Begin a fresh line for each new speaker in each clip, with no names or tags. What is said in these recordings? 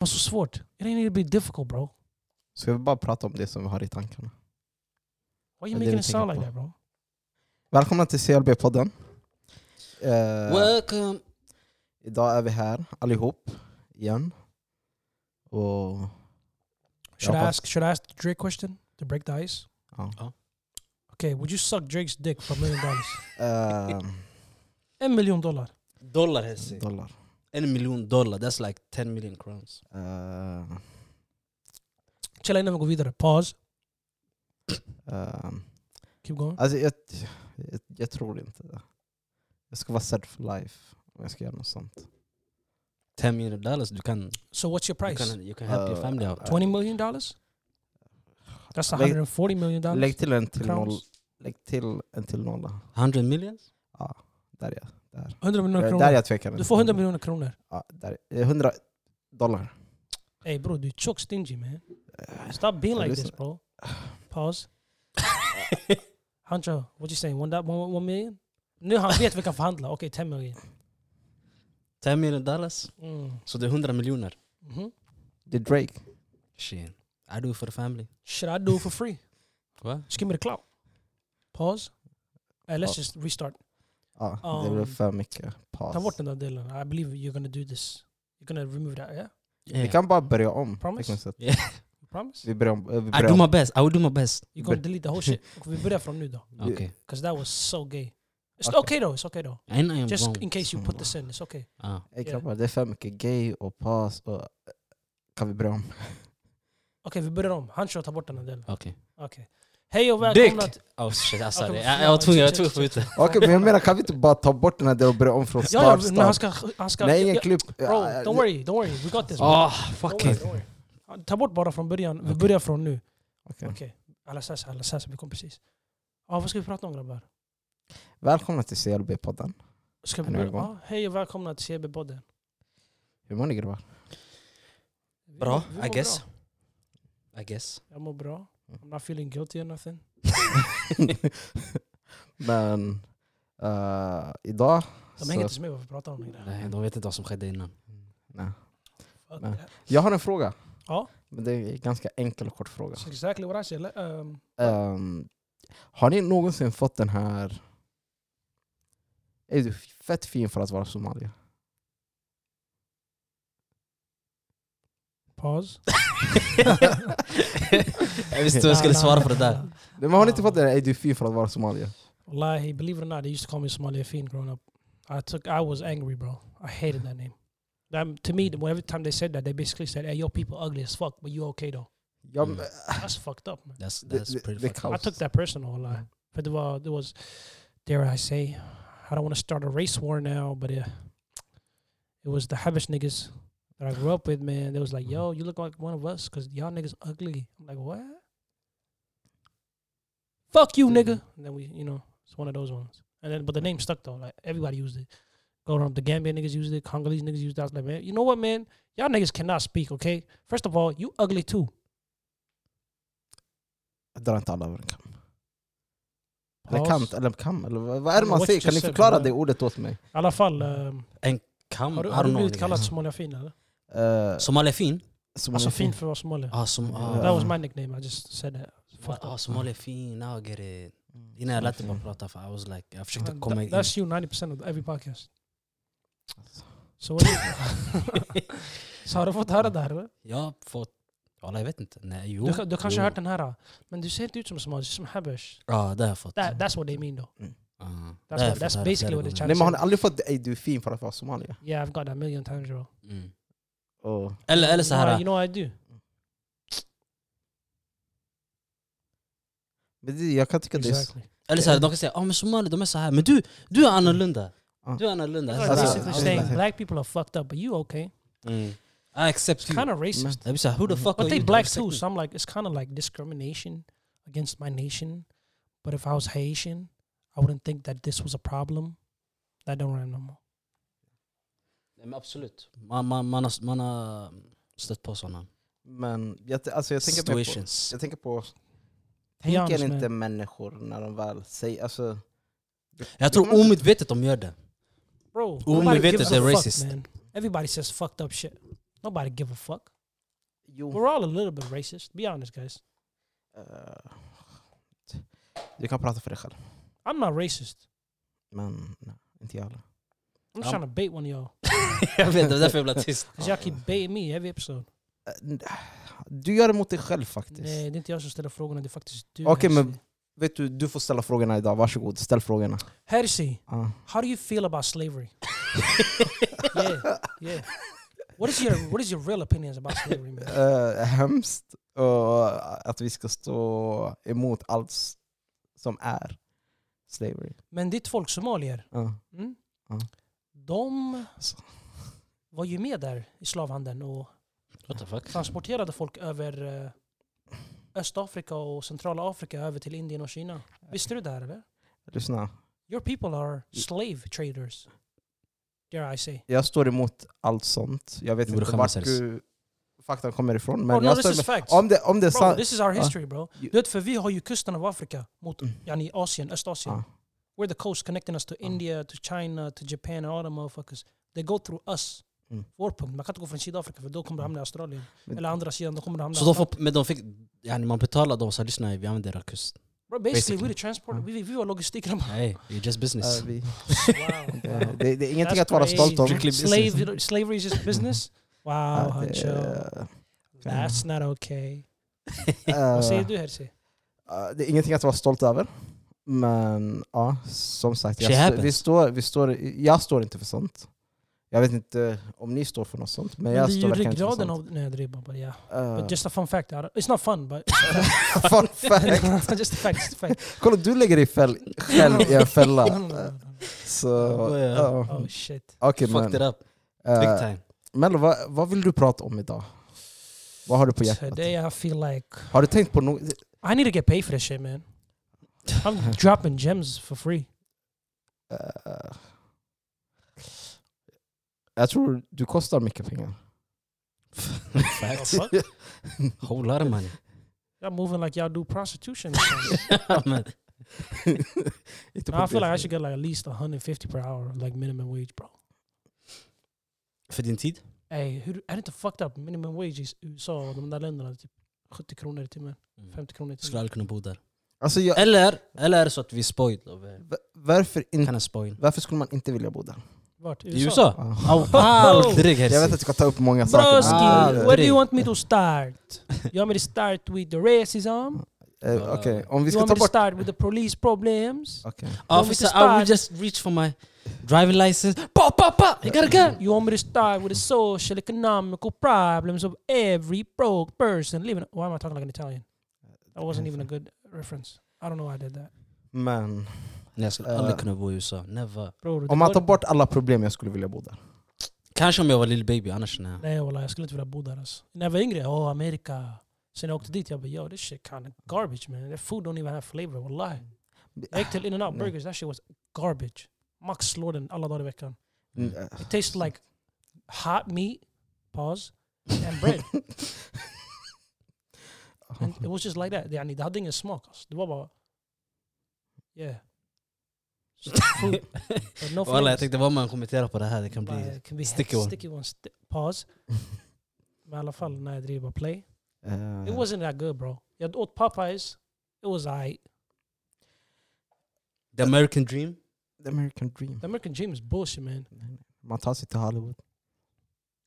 var så svårt. It ain't even be difficult bro.
Ska vi bara prata om det som vi har i tankarna?
Why
Ja, det
you
vill
making it
tänka
sound like
på.
that bro?
Välkomna till CLB-podden. Eh,
Welcome!
Idag är vi här allihop igen. Och
Should I
hoppas-
ask should I ask the Drake question to break the ice?
Ja.
Ja.
Okay, would you suck Drake's dick for a million dollars?
eh,
en miljon dollar.
Dollar Hesse.
dollar.
En miljon dollar, that's like 10 million crowns.
Eh,
Chilla innan vi går vidare. Pause.
eh,
Keep going.
alltså jag, jag, jag tror inte det. Jag ska vara sad for life om jag ska göra något sånt.
10 million dollars, du kan,
So what's your
you
price?
can, you can help your
Uh,
family out.
uh,
20 million dollars? That's
Lägg-
140 million dollars.
Lägg till en till, noll,
Crowns.
lägg till, en till nolla.
100 millions?
Där jag,
100 miljoner
eh, där
kronor.
jag tvekar.
Du får 100 miljoner kronor.
Ja, där, eh, 100 dollar.
Hey bro, du är tjock stingy man. Stop being
jag
like this
lyssnar.
bro. Pause. Hancho, what you saying? One, da- one, one million? Nu han vet vi kan förhandla. Okej, 10 million.
10 million dollars?
Mm.
Så det är 100 miljoner.
Mhm.
Det är Drake.
Shit. I do it for the family.
Should I do it for free?
Va?
Just give me the clout. Pause. Hey, let's
Ja.
just restart.
Ja, det
Um,
blev för mycket paus.
Ta bort den där delen. I believe you're gonna do this. You're gonna remove that, yeah?
Vi kan bara börja om.
Promise?
tekniskt sett.
Promise?
Vi börjar om. eh, Vi
I
börjar
do
om.
my best, I will do my best.
You're gonna delete the whole shit. Och vi börjar från nu då.
Vi-
Okay.
Because that was so gay. It's okay,
Okay.
though. It's okay though.
I know I'm
Just
wrong.
in case you put this in, it's okay.
Ah.
Ey
Yeah.
grabbar, det är för mycket gay och paus och... eh, Kan vi börja om?
Okej, vi börjar om. Han kör ta bort den här delen.
Okej.
Okej. Hej och välkomna
Dick!
till...
Oh shit, jag sa
Okej,
det.
förlåt,
Jag jag var tvungen, jag
shit,
tog få
shit,
ut det.
shit.
Okej men jag menar kan vi inte bara ta bort den här delen och börja om från
Ja, ja,
start?
men han
start?
ska... Han ska
Nej
ja,
ingen
ja.
klipp.
Bro,
Ja,
don't worry, don't worry. We got this. bro.
uh, Oh,
Don't
fucking.
worry, don't worry. Ta bort bara från början. Vi börjar från nu.
okej.
Okej. Alla sas, alla sas. Vi kom precis. Ja, vad ska vi prata om grabbar?
Välkomna till CLB-podden.
Ska vi
Ännu
börja?
en gång.
Ja, hej och välkomna till CB-podden.
Hur mår ni grabbar?
Vi-
Bra,
vi
I
mår
guess. Mm.
bra.
I guess.
Jag mår bra. I'm not feeling guilty or nothing.
men eh, idag...
De
så-
hänger inte med vad vi pratar om längre.
Nej, de vet inte vad som skedde innan.
nej.
Fuck
Nej.
that.
Jag har en fråga.
eh, Ja.
Men det är en ganska enkel och kort fråga.
That's exactly what I said. Let- um,
Ehm, har ni någonsin fått den här... Är du fett fin för att vara somalier?
Pause.
Jag visste jag skulle
Nah,
svara
nah,
på det
nah,
där.
nah.
Nej, men har ni inte fått den här, är du fin för att vara somalier?
Wallahi, believe it or not, they used to call me Somalia Fiend growing up. I took, I was angry, bro. I hated that name. That, to me, the- every time they said that, they basically said, "Hey, your people ugly as fuck, but you okay though."
Ja,
Mm.
men- äh,
That's fucked up, man.
That's,
Det-
that's
det-
pretty
det
fucking...
kan-
I took that personal, wallahi. But there was, there was, dare I say, I don't want to start a race war now, but uh, it was the Habish niggas that I grew up with, man. They was like, "Yo, you look like one of us, cause y'all niggas ugly." I'm like, "What? Fuck you, nigga." And then we, you know, it's one of those ones. And then, but the name stuck though. Like everybody used it. Go around. The Gambian niggas used it. Congolese niggas used it. I was like, man, you know what, man? Y'all niggas cannot speak. Okay, first of all, you ugly too.
Jag drar inte alla över en kam. Eller kant,
Pause.
eller kam. Eller vad vad är det
What
man
you
säger? Kan
just
ni
said,
förklara
brother.
det ordet åt mig?
I alla fall. Um,
Kam,
Har du,
I
har
don't
du
know,
blivit
nigga.
kallad Somalia fin eller?
Uh,
Somalia fin?
Alltså fin för att vara somalier.
Ah, som, ah,
Ja.
That was my nickname, I just said that.
Fan,
Fuck
ah,
that.
Somalia fin, now I get it. Innan jag lät dig bara prata, för I was like, jag försökte
And
komma
tha-
in.
Ah, That's you 90% of every podcast. So what do you- Så har du fått höra det här eller?
Jag har fått... Walla, jag vet inte. Nej, jo.
Du, ka- du kanske
jo.
har hört den här. Men du ser inte ut som somalier, du ser ut som habesh.
Ja, det har jag fått.
That, that's what they mean though.
Ah, det har
That's,
jag
what,
fått
that's
höra
basically
flera
what they
gånger.
try
Nej
to
men har ni
say.
aldrig fått är du fin för att vara somalier?
Yeah, I've got that a million times bro.
Mm.
Och
Eller, eller så
You know how-
här...
You know what I do?
Men det, jag kan tycka det
Exactly.
Eller så här, de kan säga ah, men somalier de är så här, men du, du är annorlunda.
Ja.
Du är annorlunda.
Ah. That's
Alltså,
like
Jag
basically
alltså, alltså,
blir-
saying
alltså.
black people are fucked up, but you okay.
Mm. I accept
It's
you.
kind of racist. Mm.
Jag blir så här, who the fuck
But
are
they
you to
black
accept
too,
me?
so I'm like, it's kind of like discrimination against my nation. But if I was Haitian, I wouldn't think that this was a problem. That don't rhyme no more.
Nej, men absolut. Man, man, man, har, man har stött på sådana
Men jag, t- alltså, jag tänker mer på...
situations.
Jag tänker på...
Be honest,
Tänker inte
man.
människor när de väl säger... Alltså,
Jag tror omedvetet de gör det.
Bro,
Ooh,
nobody
Vete,
gives a
they're
fuck,
racist.
man. Everybody says fucked up shit. Nobody give a fuck.
Jo.
We're all a little bit racist. Be honest, guys.
eh, du kan prata för dig själv.
I'm not racist.
Men nej, inte jag heller.
I'm
Um,
trying to bait one of y'all.
jag vet, det var därför jag blev tyst.
Cause y'all
Oh.
keep baiting me every episode.
Eh, n- Du gör det mot dig själv faktiskt.
Nej, det är inte jag som ställer frågorna. Det är faktiskt du.
Okej, men-
Hersey.
Vet du, du får ställa frågorna idag. Varsågod, ställ frågorna.
Hersey,
Ja.
how do you feel about slavery? yeah, yeah. What is your What is your real opinions about slavery, man?
Eh, hemskt. Och att vi ska stå emot allt s- som är slavery.
Men ditt folk, somalier,
Ja.
mm?
Ja.
de
Så.
var ju med där i slavhandeln och
What the fuck?
transporterade folk över eh, Östafrika och centrala Afrika över till Indien och Kina. Visste du det här eller?
Lyssna.
Your people are slave traders. Dare I say.
Jag står emot allt sånt. Jag vet
Du borde
inte
skämmas,
vart
Elis.
du, faktan kommer ifrån. Men
Oh, no,
jag
this
står
is
emot.
facts.
Om det, om det är
Bro,
sant...
this is our
Ja.
history bro. Du vet, för vi har ju kusten av Afrika mot
Mm.
yani, Asien, Östasien.
Ja.
We're the coast connecting us to
Ja.
India, to China, to Japan and all the motherfuckers. They go through us.
Mm.
Vår punkt. Man kan inte gå från Sydafrika för då kommer du hamna i Australien.
Men-
Eller andra sidan, då kommer du hamna
Så de får, men de fick, yani man betalade dem så här, lyssna vi använder era kust.
Bro, basically, Ah.
basically.
we the transport,
Ja.
vi, vi var logistiken. Wow.
Nej, Uh, you're just business.
Eh, vi,
wow.
det, det, det är ingenting
That's
att vara stolt om.
crazy. business.
Slave, slavery is just business? Wow,
Ja, det- eh,
Hancho. That's not okay. Vad säger
eh,
du Hersey?
Eh, Det är ingenting att vara stolt över. Men ja, som sagt.
Shit
Jag, stå, vi
happens.
står, vi står, jag står inte för sånt. Jag vet inte om ni står för något sånt. Men
Men
jag
det är
står
ju
verkligen inte för
ryggraden
sånt.
av... Nej, jag driver bara. Yeah.
Eh,
But just a fun fact. I don't- It's not fun, but...
fun fact.
just a Uh, fact. Just a fact.
Kolla, du lägger dig fäll, själv i en fälla.
No, no, no, no, no.
Så,
Ja, ja.
ja.
Oh shit.
Okej
Fucked it
men.
up. Big
Uh,
time.
Mello, vad, vad vill du prata om idag? Vad har du på hjärtat?
Today I feel like...
Har du tänkt på något?
I need to get paid for this shit man. I'm dropping gems for free.
Eh, jag tror du kostar mycket pengar.
Facts.
Fuck.
Whole lot of money.
Y'all moving like y'all do prostitution. or something.
Men,
Inte på
Nah, I feel
det.
like I should get like at least 150 per hour, like minimum wage, bro.
För din tid?
Ey, hur, är det inte fucked up? Minimum wage i USA och de där länderna, typ 70 kronor i timmen.
Mm.
50 kronor i
Skulle
timmen.
aldrig kunna bo där.
Alltså, jag,
Eller, eller är det så att vi är spoiled av eh,
Va- Varför, in,
Kana spoil.
varför skulle man inte vilja bo där?
Vart?
I USA?
Ah.
Av Aldrig
Jag vet
Herzi.
att du kan ta upp många saker. Eh,
Broski,
Ah,
where do
det-
you want me to start? You want me to start with the racism?
Eh, Okej, om
You
vi
want
ska ta
me to
bort...
start with the police problems?
Okej.
Officer, I will just reach for my driving license. Pa, pa, pa! I got a gun!
You want me to start with the social, economical problems of every broke person living... Why am I talking like an Italian? That wasn't even a good reference. I don't know why I did that.
Men
Nej, jag skulle
Eh.
aldrig kunna bo i USA. Never.
Bro, det
om man
går-
tar bort alla problem jag skulle vilja bo där.
Kanske om jag var lill baby, annars nej.
Nej walla, jag skulle inte vilja bo där alltså. När jag var yngre, åh Amerika. Sen jag åkte dit, jag bara yo this shit kinda garbage man. That food don't even have flavor, wallahi. Jag gick till In-N-Out
Nej.
Burgers, that shit was garbage. Max slår den alla dagar i veckan.
Mm,
Mm.
eh,
It tastes like hot meat, pause, and bread. and
Mm.
it was just like that. يعني Det hade ingen smak alltså. Det var bara... Yeah. Food, but no
Walla, jag
flavors.
tänkte vad man kommenterar på det här, det kan
Bara,
bli...
It can be
sticky one.
Sticky one. Sti- pause. Men i alla fall, när jag driver play.
eh,
It wasn't that good, bro. Jag åt Popeyes. It was I.
The American dream.
The American dream.
The American dream is bullshit, man.
Man tar sig till Hollywood.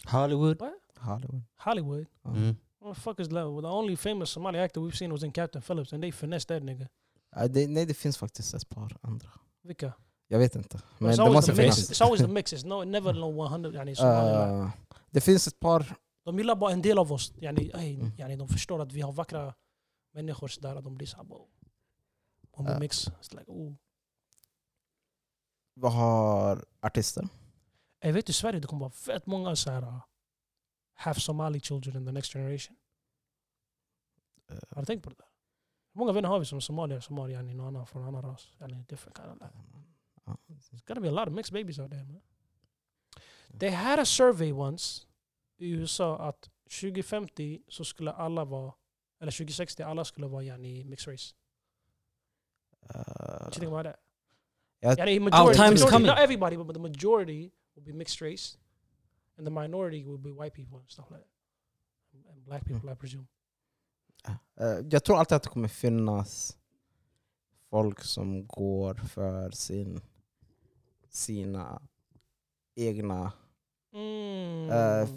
Hollywood.
Hollywood. Ah.
Hollywood.
Ja.
Mm.
What the fuck is love? Well, the only famous Somali actor we've seen was in Captain Phillips, and they finessed that nigga.
Eh, det, nej, det finns faktiskt ett par andra.
Vilka?
Jag vet inte.
But
Men
it's
det
always the
måste
mix.
finnas.
It's always the mix. It's no, never no 100. Yani,
Uh,
Somali.
Eh, det finns ett par...
de gillar bara en del av oss. Yani, ey,
Mm.
yani, de förstår att vi har vackra människor sådär. att De blir såhär, wow. Om
Ja.
vi mix, it's like, oh. ooh.
Vad har artister?
Ey, vet du, i Sverige det kommer vara fett många såhär uh, half Somali children in the next generation.
Eh,
Har du tänkt på det där? Hur många vänner har vi som är somalier? Somalier, yani någon annan från annan ras. Yani different kind of life.
ja.
It's gonna be a lot of mixed babies out there man. They had a survey once i USA att 2050 så skulle alla vara, eller 2060 alla skulle vara yani mixed race. What you
Eh,
think about that?
Jag-
Yani majority,
Oh, time's
majority,
coming.
not everybody but the majority will be mixed race. and the minority would be white people and stuff like that, and black people, I presume.
Eh, Jag tror alltid att det kommer finnas folk som går för sin, sina egna,
Hmm.
Eh,
Mm.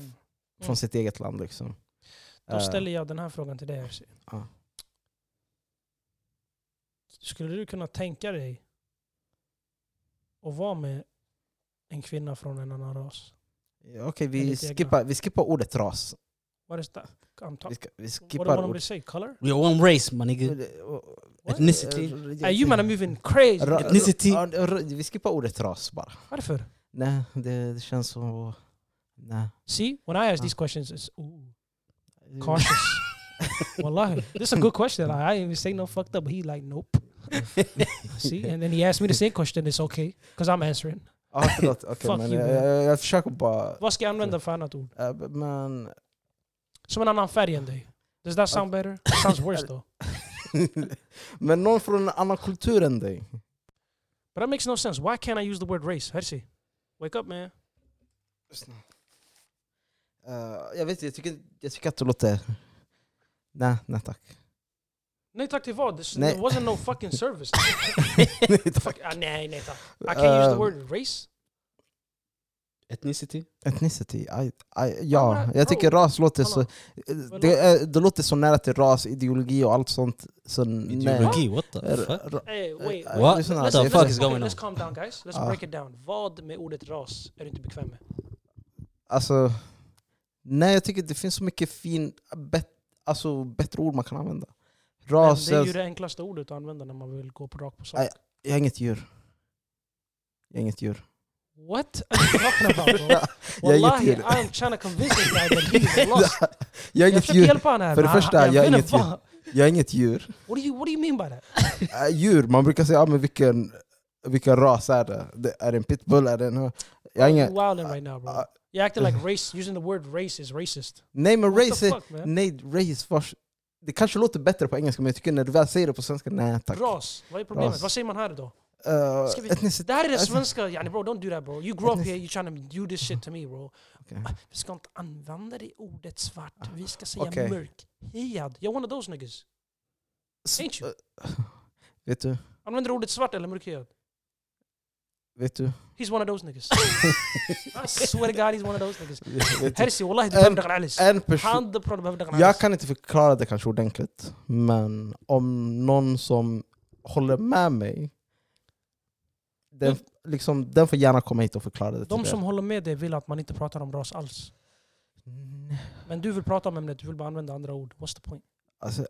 från
Mm.
sitt eget land liksom.
Då
Eh,
ställer jag den här frågan till dig. Hersi.
Ja.
Skulle du kunna tänka dig att vara med en kvinna från en annan ras?
Okej, vi,
Enligt egna.
skippar, vi skippar ordet ras.
What is that? I'm
Vi,
talking.
ska, vi
What do I
skippar
want to
ordet... eh,
say? Color?
We are one race my nigga. Ethnicity.
Hey, you man are moving crazy.
Ra-
Ethnicity.
ja, ra- Vi skippar ordet ras bara.
Varför?
Nej, det, det känns som... Nej.
See, when I ask
Ah.
these questions, it's ooh, cautious. Wallahi, this is a good question. I, I didn't even say no fucked up, but he like nope. See, and then he asked me the same question. It's okay because I'm answering.
Ja, förlåt. Okej,
Fuck
men
you,
jag,
man.
jag, jag försöker bara...
Vad ska jag använda för annat ord?
eh, Men...
Som en annan färg än dig. Does that sound better? sounds worse though.
men någon från en annan kultur än dig.
But that makes no sense. Why can't I use the word race? Hersi, wake up man.
Eh, jag vet inte, jag tycker, jag tycker att det låter... Nej, nej tack.
Nej tack till vad? This,
Nej.
There wasn't no fucking service.
nej tack.
Fuck, ah, nej, nej tack. I can't use the
Um,
Eh,
word race.
Ethnicity?
Eh, Ethnicity? I, I, ja,
men
jag tycker
bro,
ras låter så... eh,
Hallå.
Det, är, det låter så nära till ras, ideologi och allt sånt. Så nej.
Ideologi?
what
R-
fuck?
ra-
Hey, wait.
eh,
Uh, What
lyssna,
the
Let's,
alltså, jag-
let's,
fuck
let's,
is going
okay, let's
on?
calm
Uh,
down guys. Let's
Ah.
break it down. Vad med ordet ras är du inte bekväm med?
Alltså, nej jag tycker det finns så mycket fin, bet, alltså, bättre ord man kan använda.
Men
Ras,
det är ju
jag,
det enklaste ordet att använda när man vill gå på rakt på sak.
Nej. jag är inget djur. Jag är inget djur.
What are you talking about bro?
Jag är inget
Wallahi,
djur.
I'm trying to convince this guy that he is lost.
Jag är
Jag
inget
försöker
djur.
hjälpa honom här.
För det
men han-
första,
han-
jag är
vet
inget
inte
djur.
vad-
Jag är inget djur.
What do you, what do you mean by that?
Äh, djur, man brukar säga ah, men vilken, vilken ras är det? det? Är det en pitbull? Är det en... Jag är
You're
ingen...
wilding right now, bro.
Ah,
You're acting like race. Using the word race is racist.
nej men
What the
race är...
fuck, man?
Nej, race vars... Det kanske låter bättre på engelska men jag tycker när du väl säger det på svenska, nej tack.
Ras. Vad är problemet?
Ras.
Vad säger man här då?
Eh,
Ska vi-
etnicitet.
Det här är det
Alltså-
svenska. Yani bro, don't do that bro. You grew up
Etnic-
here, you're trying to do this shit to me bro.
Okej.
Ah, Vi ska inte använda det ordet svart. Vi ska säga
Okej.
mörkhyad. You're one of those niggas. Ain't you?
Eh, Vet du?
Använder du ordet svart eller mörkhyad?
Vet du?
He's one of those niggas. I swear to God he's one of those niggas.
Vet du?
Hersi wallahi du
Typ. En-
behöver dagga alis.
En
100%
person...
du behöver dagga
Jag kan inte förklara det kanske ordentligt, men om någon som håller med mig, den, liksom, den får gärna komma hit och förklara det
De
till
som håller med dig vill att man inte pratar om ras alls.
er. Nej,
Men du vill prata om ämnet, du vill bara använda andra ord. What's the point?
Alltså,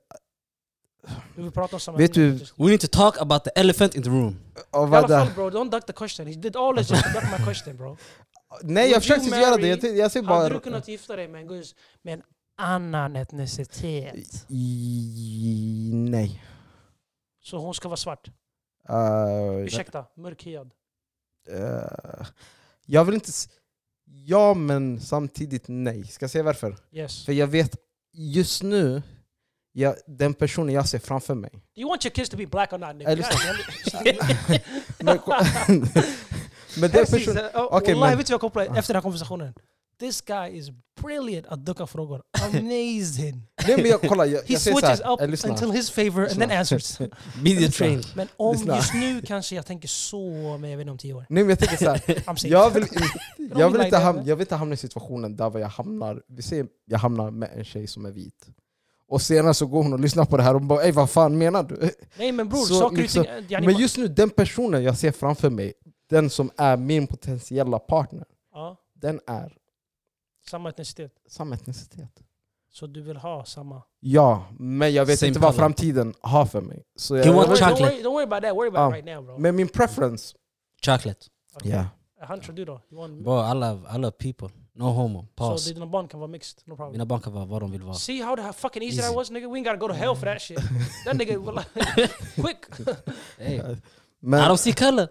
Du vill prata om samma
Vet
ämne.
du-
Just-
We need to talk about the elephant in the room.
och
I alla
vad
fall
det,
bro, don't duck the question. He did all this just to duck my question bro.
nej,
Would
jag försökte
you
inte göra det.
marry-
Jag, ty- jag säger
Hade du
bara...
kunnat gifta dig med en guzz med en annan etnicitet?
I, nej.
Så hon ska vara svart?
Eh,
Ursäkta, mörkhyad.
eh, jag vill inte... s- Ja, men samtidigt nej. Ska jag säga varför?
Yes.
För jag vet just nu, jag, den personen jag ser framför mig.
Do you want your kids to be black or not?
Eh,
nigga?
lyssna.
God damn it.
men, men den
Precis,
personen...
eh, Wallahi,
okej, men- Ah.
vet du vad jag kopplade efter den här konversationen? This guy is brilliant att ducka frågor. Amazing!
Nej men jag, kolla, jag,
He
jag säger
switches
såhär,
up
eh, lyssna.
until his favor and then answers.
Media
Lyssna.
trained.
Men om
Lyssna.
just nu kanske jag tänker så, men jag vet inte om tio år.
Nej men jag tänker såhär,
I'm safe.
jag vill, inte- jag, vill
like
inte
that,
hamna,
man.
jag vill inte hamna i situationen där vad jag hamnar, vi säger jag hamnar med en tjej som är vit. Och senare så går hon och lyssnar på det här och bara ey vad fan menar du?
Nej men bror,
Så
saker
liksom-
och ting... eh, yani
Men
man-
just nu, den personen jag ser framför mig, den som är min potentiella partner,
ja,
den är
samma etnicitet.
samma etnicitet.
Så du vill ha samma...
Ja, men jag vet
Same
inte vad
color.
framtiden har för mig. Så jag,
You
Don't
want
worry, don't,
chocolate?
worry, don't worry about that, worry about
Ah,
it right now bro.
men min preference...
Chocolate.
Okay. Eh,
Ja.
Hunter du då? You want
Bro, I love, I love people. No homo.
so
Pause.
dina barn kan vara mixed, no problem.
Mina barn kan vara vad de vill vara.
See how the how fucking easy, that
Easy.
was nigga? We ain't gotta go to hell for that shit. that nigga was like, quick.
Hey.
Men,
I don't see color.
I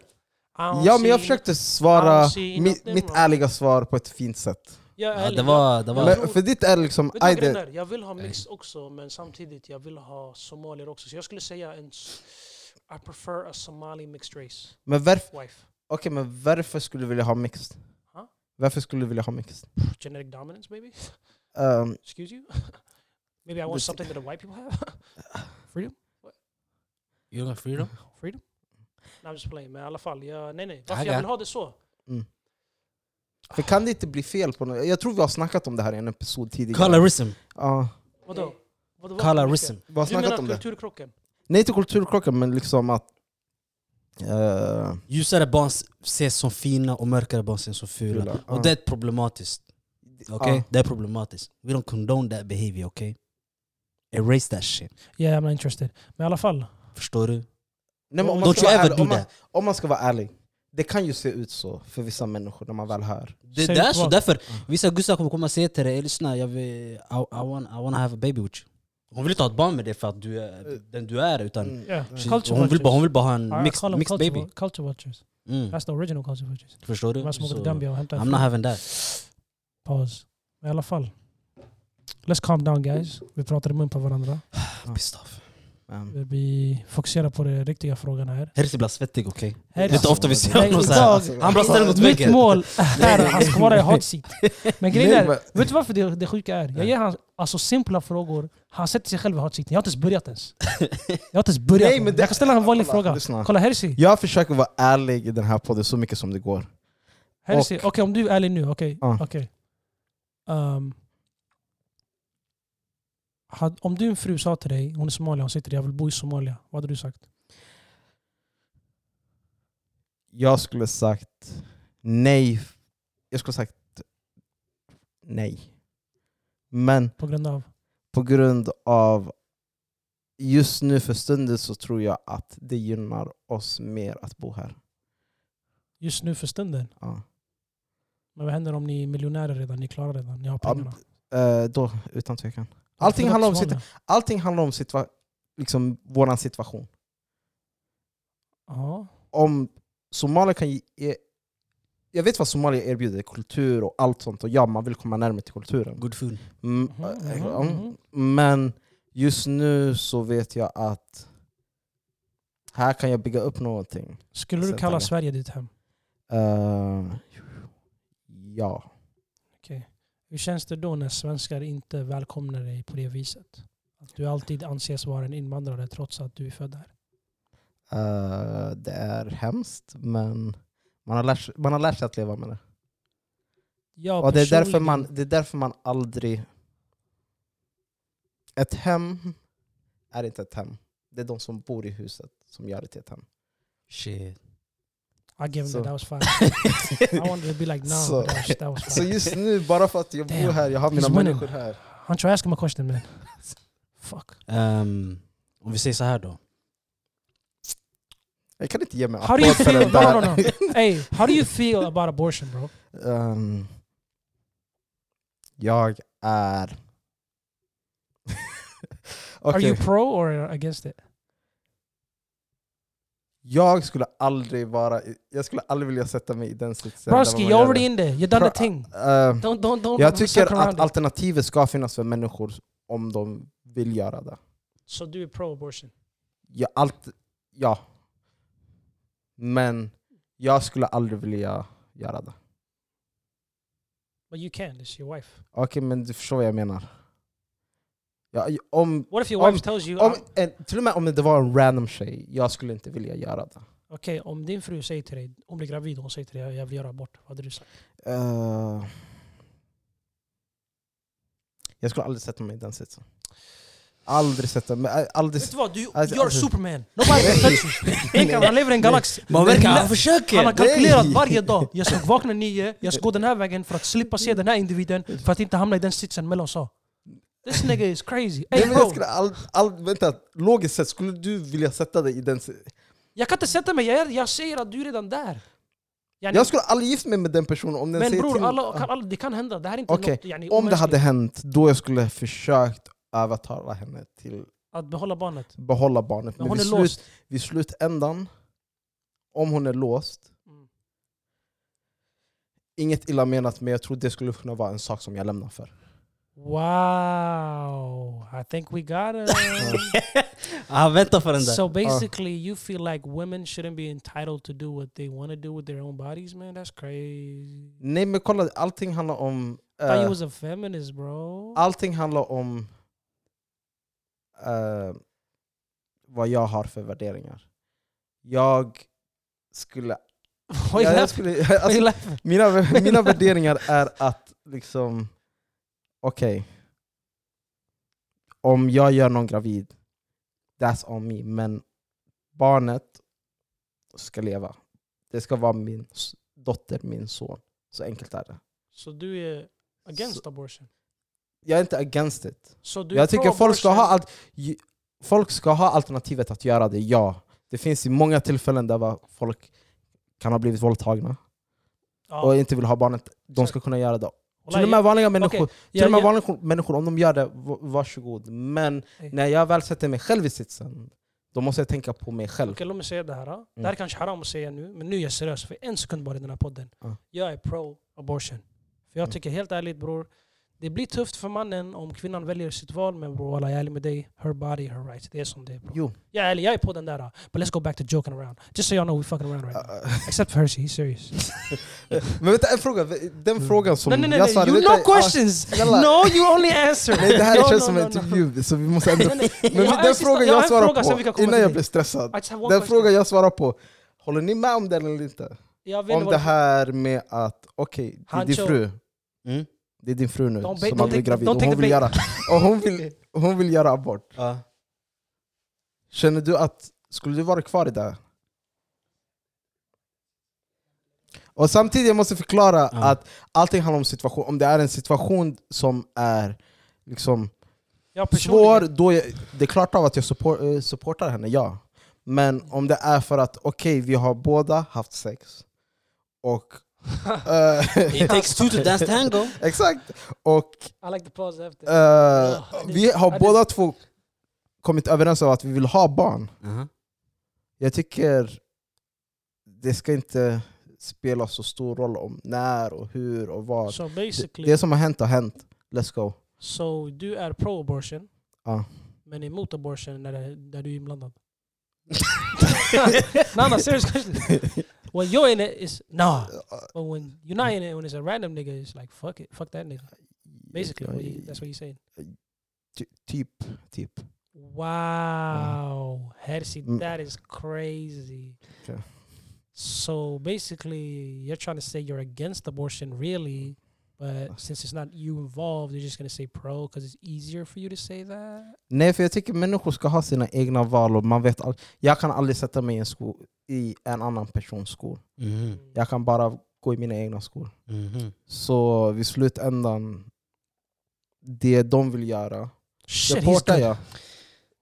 don't
ja, men jag
see-
försökte
I
svara
don't see
mi,
nothing
mitt
wrong.
ärliga svar på ett fint sätt.
Ja,
Ja,
ärligt,
det var... Det var
Jag
Men,
tror-
för ditt är liksom...
Vet du
Aj,
vad grejen
det,
är? Jag vill ha mix också men samtidigt jag vill ha somalier också. Så jag skulle säga en... s- I prefer a Somali mixed race
men, varf,
wife.
okej, men varför skulle du vilja ha mixed?
Ha?
Varför skulle du vilja ha mixed?
Genetic dominance, maybe?
Ehm,
Excuse you? maybe I want
This-
something that the white people have? Freedom?
You got freedom?
Freedom? No, I'm just playing, man. I alla fall, jag, nej, nej. Varför
Taggar.
jag vill ha det så?
för kan det inte bli fel på något? Jag tror vi har snackat om det här i en episod tidigare.
Colorism.
Ja,
Vadå? Vad- vad-
Colorism.
vi har
Du menar
snackat om det.
kulturkrocken?
Nej till kulturkrocken, men liksom att... eh,
Ljusare barn ses som fina och mörkare barn ses som fula.
Fula, ja.
Uh.
Och det är problematiskt. Okay?
Ja.
Det är problematiskt. We don't condone that behavior, okay? Erase that shit.
Yeah, I'm not interested. Men i alla fall.
Mm, Förstår du?
Nej, men om man
Don't
ska
you
vara
ever
ärlig,
do
om man,
that.
om man ska vara ärlig, det kan ju se ut så för vissa människor när man väl hör.
Det,
Säg
det är
inte
så,
vad.
därför
Uh.
vissa gussar kommer komma och säga till dig "Ey, lyssna, jag vill, I, I, want, I wanna have a baby with you. Hon vill inte ha ett barn med dig för att du är den du är utan
Mm.
Yeah.
She-
Eh. Mm. Culture
hon, vill bara, hon vill bara ha
I- I
en mixed,
call 'em
mixed
culture,
baby.
Culture watchers.
Mm.
That's the original culture watchers.
Förstår du?
Man smoker
Så,
Gambia och hämtar
I'm not having that.
Paus. Men i alla fall. Let's calm down guys. Vi pratar i mun på varandra. Uh.
I'm pissed off.
Men,
Vi fokuserar på den riktiga frågan här.
Herzi blir svettig, okej?
Här-
Det är inte ofta vi ser
Nej,
honom
idag-
såhär.
Alltså,
Han bara ställer mot
Mitt
väggen.
mål är att han ska vara i hot seat. Men grejen
Nej,
är,
men-
vet du varför det, det sjuka är? Jag ger han alltså, simpla frågor, han sätter sig själv i hot seat. Jag har inte ens börjat ens. Jag har inte ens börjat.
Nej, men det-
jag kan ställa en vanlig
Kolla,
fråga.
lyssna.
Kolla Herzi.
jag försöker vara ärlig i den här podden så mycket som det går.
Herzi, okej om du är ärlig nu, okej.
Ja.
okej. Ehm, had- om din fru sa till dig, hon är Somalia, hon säger till dig jag vill bo i Somalia. Vad hade du sagt?
Jag skulle sagt nej. Jag skulle sagt nej. Men
På grund av?
på grund av just nu för stunden så tror jag att det gynnar oss mer att bo här.
Just nu för stunden.
Ja.
Men vad händer om ni är miljonärer redan? Ni är klara redan? Ni har
Ja,
pengarna?
Eh, då, utan tvekan. Allting handlar om, situa- allting handlar om situa- liksom vår situation.
Ja.
Om Somalia kan ge... ge- Jag vet vad Somalia erbjuder, kultur och allt sånt. Och ja, man vill komma närmare till kulturen.
Good food.
Mm,
Mhm,
eh,
mhm,
ja,
mhm.
Men just nu så vet jag att här kan jag bygga upp någonting.
Skulle du
Sen
kalla
tanken.
Sverige ditt hem?
Eh, ja.
Okej. Hur känns det då när svenskar inte välkomnar dig på det viset? Att du alltid anses vara en invandrare trots att du är född här.
Eh, det är hemskt, men man har, lärt, sig- man har lärt sig att leva med det.
Ja,
Och det, är därför
personligen-
man, det är därför man aldrig... Ett hem är inte ett hem. Det är de som bor i huset som gör det till ett hem.
Shit.
I give them
Så.
that, that was fine. I wanted to be like, nah,
Så.
but that was- that was
Så
fine.
just nu, bara för att jag bor
Damn,
här, jag har mina
he's winning.
människor här.
Han tror jag ska question man. Fuck.
Ehm, om vi säger så här då.
Jag kan inte ge mig en
How do you
applåd för
feel?
den
No, no,
där.
no. Hey, how do you feel about abortion bro?
Ehm, jag är...
Are
Okej.
you pro or against it?
Jag skulle aldrig vara... i- Jag skulle aldrig vilja sätta mig i den sitsen. där
Broski,
man
you're
gör
already
det.
in there. You done the
Pro-
thing.
Ehm,
Don't, don't, don't
Jag
circle
tycker
around
att
it.
alternativet ska finnas för människor om de vill göra det.
Så du är pro abortion?
Ja, allt, ja. Men jag skulle aldrig vilja göra det.
But you can, it's your wife.
Okej, men du förstår vad jag menar. Ja, i- om,
What if your
Om-
wife tells you... "Ah,
om,
"I'm-
en, till och med om det var en random tjej, jag skulle inte vilja göra det.
Okej, om din fru säger till dig, hon blir gravid och hon säger till dig jag vill göra abort, vad hade du sagt?
Eh, jag skulle aldrig sätta mig i den sitsen. Aldrig sätta mig... eh, Aldrig,
Vet du vad? Du,
Alltså,
you're
alltså-
superman! Nobody can touch you! Enkan, han lever i en galax!
Man verkar,
Nej.
han
Han har
försöker!
kalkylerat
Nej.
varje dag. Jag ska vakna nio, jag ska gå den här vägen för att slippa se den här individen, för att inte hamna i den sitsen mellan sa. This nigga is crazy. Ey
Nej, men jag,
bro,
skulle all, all, vänta, logiskt sett, skulle du vilja sätta dig i den si-
jag kan inte sätta mig, jag, är, jag säger att du är redan där. Yani,
Jag skulle aldrig gift mig med den personen om den
men
säger
bror,
till
alla, kan, alla, det kan hända. Det här är inte
Okej,
något yani,
Om det
omänskligt.
hade hänt, då jag skulle försökt övertala henne till
Att behålla barnet.
att behålla barnet.
Men
Men,
hon är
vid, slut,
låst.
vid slutändan, om hon är låst,
Mm.
inget illa menat men jag tror det skulle kunna vara en sak som jag lämnar för.
Wow! I think we got it.
Jag väntar för den där.
so basically, you feel like women shouldn't be entitled to do what they want to do with their own bodies, man. That's crazy.
Nej men kolla, allting handlar om...
I thought
eh,
you was a feminist, bro.
allting handlar om eh, vad jag har för värderingar. Jag skulle...
Why
jag,
laugh?
jag skulle
Why
alltså,
laugh?
mina, mina värderingar är att liksom... Okej. om jag gör någon gravid, that's on me. Men barnet ska leva. Det ska vara min s- dotter, min son. Så enkelt är det.
Så du är against abortion?
Jag är inte against it.
Så du är
jag tycker folk ska, ha
pro-abortion?
allt, ju- folk ska ha alternativet att göra det, ja. Det finns i många tillfällen där va- folk kan ha blivit våldtagna
Ja.
och inte vill ha barnet. De
Exakt.
ska kunna göra det.
Wallah,
Till och med vanliga människor,
Okej,
till
jag-
och med
jag-
vanliga människor om de gör det, v- varsågod. Men
Ey.
när jag väl sätter mig själv i sitsen, då måste jag tänka på mig själv. Mm.
Okej, låt mig säga det här. då. Det här kanske är haram att säga nu, men nu är jag seriös. För en sekund bara i den här podden.
Ja.
Jag är pro-abortion. För jag
Mm.
tycker helt ärligt bror, det blir tufft för mannen om kvinnan väljer sitt val. Men bror, wallah, jag är ärlig med dig. Her body, her rights. Det är som det är. bror.
Jo.
Jag är ärlig, jag är på den där. då. But let's go back to joking around. Just so y'all know we fucking around right now.
Äh,
Except for Hershey, he's serious.
Men vänta, en fråga. Den frågan som
Nej nej nej,
jag sa...
nej. you
vänta,
no
ah,
questions!
jalla.
No, you only answer!
Nej, det här
No,
känns
no,
som
no,
en
no.
intervju, så vi måste ändå...
Nej, nej, nej.
Men
Jag har
den
en sista- jag
frågan
har
jag
en
svarar
fråga, sen vi kan
på,
komma
innan jag
till
blir stressad.
I just have one
Den
question.
frågan jag svarar på, håller ni med om det eller inte?
Jag vet
Om
vad
det här med att, okej, det är din
Hancho.
fru.
Mm.
Det är din fru nu
Don't ba-
som
don't
har blivit
take-
gravid
don't
och
take
hon
the
vill,
bait.
göra, och hon, vill, hon vill göra abort.
Ja.
Känner du att, skulle du vara kvar i det? här? Och samtidigt jag måste förklara
Ja.
att allting handlar om situation. Om det är en situation som är liksom
jag
svår,
personligen-
då jag, det är klart av att jag support, eh, supportar henne, ja. Men om det är för att okej, vi har båda haft sex, och... eh,
It takes two to dance tango.
exakt! Och
I like the pause after.
eh,
det-
vi
ja,
har
det-
båda två kommit överens om att vi vill ha barn.
Uh-huh.
Jag tycker det ska inte spela så stor roll om när och hur och vad.
so
Det,
basically,
det som har hänt har hänt. Let's go.
so du är pro-abortion,
Ja.
men emot abortion när, det, när du är inblandad. no, no, serious question. When you're in it, it's nah. But when you're not in it, when it's a random nigga, it's like fuck it, fuck that nigga. Basically, what you, that's what you're saying.
Ty- Typ, typ.
Wow, Hersey,
Mm.
that is crazy.
Okay.
So basically, you're trying to say you're against abortion, really, but since it's not you involved, you're just gonna say pro because it's easier for you to say that.
Nej, för jag tycker människor ska ha sina egna val. Och man vet all- jag kan aldrig sätta mig i en, sko- i en annan persons skor.
Mhm.
Jag kan bara gå i mina egna skor. Mm-hmm.
Mhm.
Så vid slutändan, det de vill göra,
Shit, he's
supportar
good.
jag.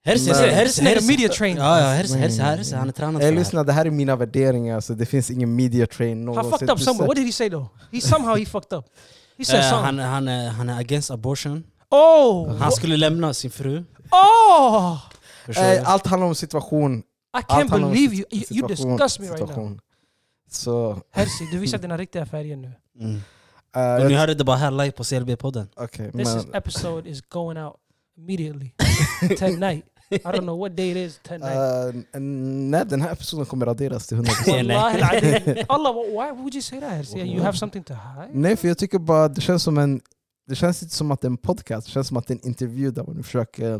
Herse,
Men-
Herse
herse, herse,
är
herse.
media trained.
Ja, ja, herse,
Nej,
herse,
nej,
herse. Han är tränad
Hey,
för det här.
Eh, lyssna, det här är mina värderingar, så det finns ingen media train
I fucked up
Du
somewhere.
ser-
What did he say though? He somehow he fucked up. He said
Eh,
something.
han, han, är, han är against abortion.
Oh,
Han skulle lämna sin fru.
oh!
Förstår
Eh,
du?
allt handlar om situation.
I
Allt
can't
handlar om
believe
sit-
you. You, you disgust me right now.
situation. Så,
Hersey, du visar dina riktiga färger nu.
Mm.
eh,
Och ni
jag-
hörde det bara här live på CLB-podden.
okej,
This
men-
is episode is going out immediately tonight. I don't know what day it is tonight.
eh, nej, den här episoden kommer raderas till 100%.
nej.
Wallahi al-azim. Allah, why would you say that? Hersey? You have something to hide?
Nej, för jag tycker bara det känns som en... Det känns inte som att det är en podcast, det känns som att det är en intervju där man försöker...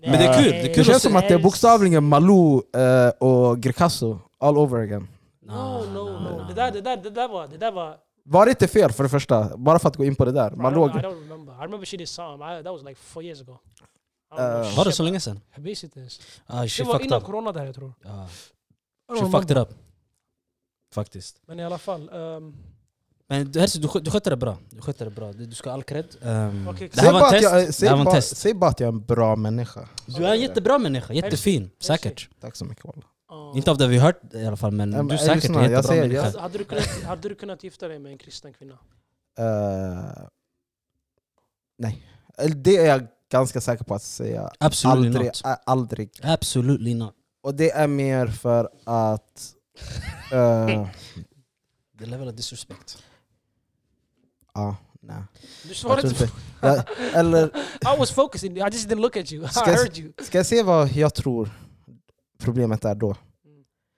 Men det är kul, det är kul
Det
att
känns
se-
som att det är bokstavligen Malou eh, och Grecasso all over again.
No, no, no. Det där, det där, det där var... Det där var
Var det inte fel för det första? Bara för att gå in på det där.
uh, I, don't,
Malou,
I don't remember. I remember she did something. I, that was like four years ago. I don't
Eh,
know
Var det
shit.
så länge sedan?
Jag visste inte ens.
Ah, she
Det var
fucked
innan
up.
corona där jag tror.
Ah,
I don't
she
remember.
fucked it up. Faktiskt.
Men i alla fall. Um,
Men du, Herse, du, skö- du skötte det bra. Du skötte det bra. Du du ska ha all cred. Ehm,
Okej,
Det här
säg,
var
bara
en
att jag, eh,
test. Det
säg,
här var en
bara,
test.
säg bara att jag är en bra människa.
Du är en jättebra människa, jättefin. Säkert.
Tack så mycket walla.
ja.
Inte av det vi hört i alla fall, men
Ja, men
du är
jag
säkert
lyssnar,
en
jag
jättebra
säger
människa.
yes.
hade, hade, du kunnat, hade du kunnat gifta dig med en kristen kvinna?
Eh, nej. Eller Det är jag ganska säker på att säga.
Absolutely
Aldrig,
not.
ä- aldrig.
Absolutely not.
Och det är mer för att... eh,
The level of disrespect.
ja, Nej.
Du
Jag
svarade
tror
inte.
inte. Jag, eller
I was focusing. I just didn't look at you. I
Ska jag s-
heard you.
ska jag se vad jag tror problemet är då?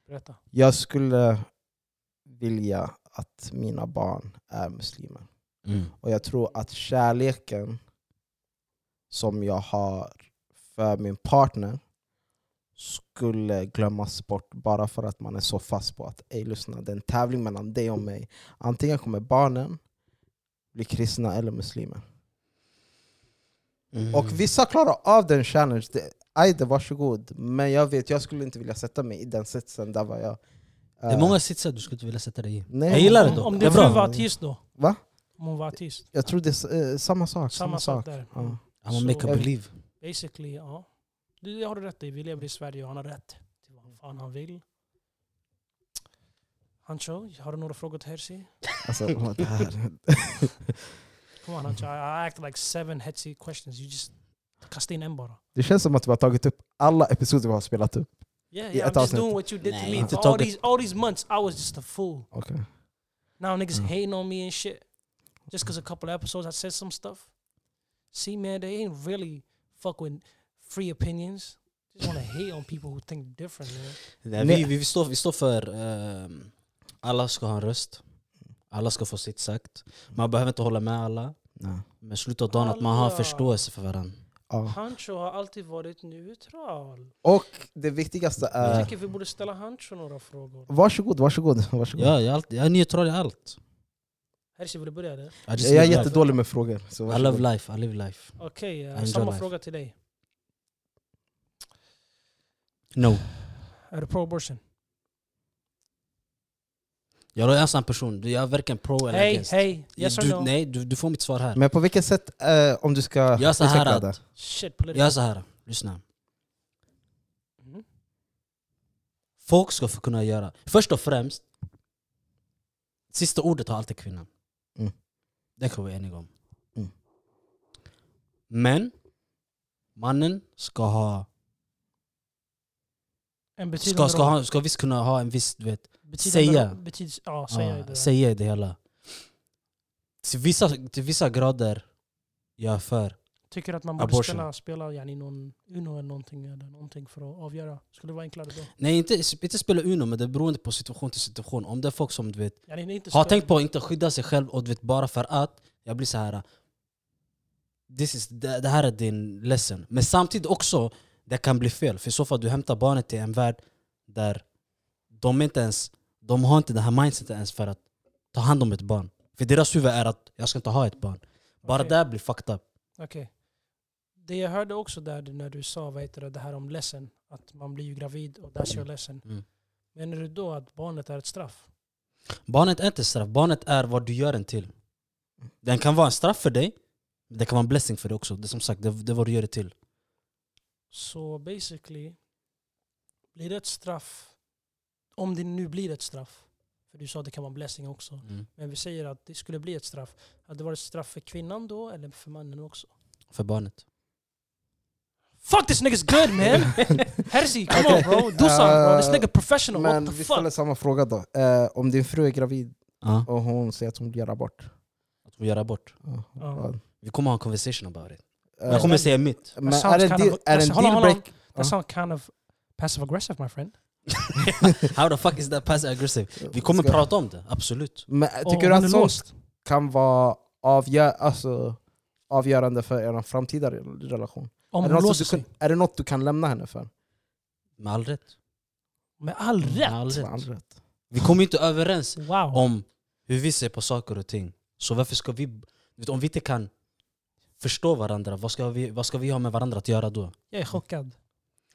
Berätta.
Jag skulle vilja att mina barn är muslimer.
Mm.
Och jag tror att kärleken som jag har för min partner skulle glömmas bort bara för att man är så fast på att Ey, lyssna, det är en tävling mellan dig och mig. Antingen kommer barnen bli kristna eller muslimer.
Mm.
Och vissa klarar av den challenge. Det- Ajde, varsågod. Men jag vet, jag skulle inte vilja sätta mig i den sitsen där var jag... eh,
Det är många sitsar du skulle inte vilja sätta dig i.
nej,
jag gillar det
Om,
dock.
om
Det är
din fru
bra.
var artist då?
Va?
Om hon var artist?
Jag tror det är s- eh, samma sak.
Samma sak där.
Ja.
I'm a make
Så-
up believe.
Basically, ja. Du, det har du rätt i. Vi lever i Sverige och han har rätt till vad fan han vill. Hancho, har du några frågor till Herzi?
Alltså, vad det här.
Come on Hancho, I, I act like seven Hetzy questions. You just kasta in en bara.
Det känns som att vi har tagit upp alla episoder vi har spelat upp.
Yeah,
I
yeah
ett
I'm just
avsnitt.
doing what you did
Nej,
to me.
inte
All
tagit-
these, all these months I was just a fool.
Okay.
Now niggas
Mm.
hating on me and shit. Just because a couple of episodes I said some stuff. See, man, they ain't really fuck with free opinions. Just want to hate on people who think different, man.
Nej,
Nej.
vi, vi, vi, står, vi står för ehm, alla ska ha en röst. Alla ska få sitt sagt. Man behöver inte hålla med alla.
Nej.
Men slutet av dagen att man har
Alla.
förståelse för varandra.
Ja.
Hancho har alltid varit
Uh,
neutral.
Och det viktigaste
Jag
är...
tycker vi borde ställa Hancho några frågor.
Varsågod, varsågod. varsågod.
Ja, jag, är allt- jag är neutral i allt.
Herzi, vill du börja där?
I, just
Jag är
live life.
jättedålig med frågor. Så
I love
varsågod.
life, I live life.
Okej, eh,
Enjoy
samma
life.
fråga till dig.
No.
Är du pro-abortion?
Jag är en sån person. Du- Jag är varken pro eller
Hej,
against.
hej! Yes or
du,
no?
Nej, du, du får mitt svar här.
Men på vilket sätt, eh, om du ska
Jag är så här
utveckla
att...
det?
Shit,
Jag är
political.
så här, lyssna.
Mm.
Folk ska få kunna göra... Först och främst, sista ordet har alltid kvinnan.
Mm.
Det kan vi vara eniga om.
Mm.
Men, mannen ska ha...
En
Ska,
betydande
ska, ha, ska visst kunna ha en viss... Du vet,
betydande
säga.
roll- Betydelse, ja,
Ja,
säga. i det där.
säga i det hela. Till vissa, till vissa grader, jag är för.
Tycker att man borde
Abortion.
spela, spela yani någon Uno eller någonting, eller någonting för att avgöra? Skulle det vara enklare då?
Nej, inte, inte spela Uno, men det är beroende på situation till situation. Om det är folk som du vet,
Yani, det är inte
Har
så-
tänkt på att inte skydda sig själv och du vet bara för att jag blir så här. uh, This is, det, det här är din lesson. Men samtidigt också, det kan bli fel. För i så fall du hämtar barnet till en värld där de inte ens de har inte den här mindseten ens för att ta hand om ett barn. För deras huvud är att jag ska inte ha ett barn. Bara
Okej.
där blir fucked up.
Okej. Det jag hörde också där när du sa vad heter det, det här om ledsen, att man blir ju gravid och that's your lesson.
Mm.
Menar du då att barnet är ett straff?
Barnet är inte straff, barnet är vad du gör den till. Den kan vara en straff för dig, men det kan vara en blessing för dig också. Det är som sagt, det, det är vad du gör det till.
Så basically, blir det ett straff, om det nu blir ett straff, för du sa att det kan vara en blessing också, men vi säger att det skulle bli ett straff, hade det varit ett straff för kvinnan då eller för mannen också?
För barnet.
Fuck this nigga's good man! Hersey, come on bro, do something bro,
Uh,
this nigga professional,
Men
what the
vi
fuck?
ställer samma fråga då. Eh, om din fru är gravid
Ja.
och hon säger att hon vill göra abort.
Att vi gör abort.
Ja,
Ja.
vad-
Vi kommer ha en conversation about it.
Eh,
Jag kommer säga mitt.
men
That sounds
är det en
kind
deal-
of-
är det en
Hold on, hold on.
dealbreak?
That sounds kind of passive aggressive my friend.
How the fuck is that passive aggressive? Vi kommer
Eh, Ska-
prata om det, absolut.
Men eh,
Och
tycker du
hon är
att sånt
låst.
kan vara avgö alltså, avgörande för er framtida re- relation?
Om hon
Är det, något
låser
du
sig.
kan, är det något du kan lämna henne för?
Med all rätt.
Med all
Med
rätt.
all
Med
rätt.
all rätt.
Vi kommer inte överens
Wow.
Mm. om hur vi ser på saker och ting. Så varför ska vi... vet, Om vi inte kan förstå varandra, vad ska vi, vad ska vi ha med varandra att göra då?
Jag är chockad.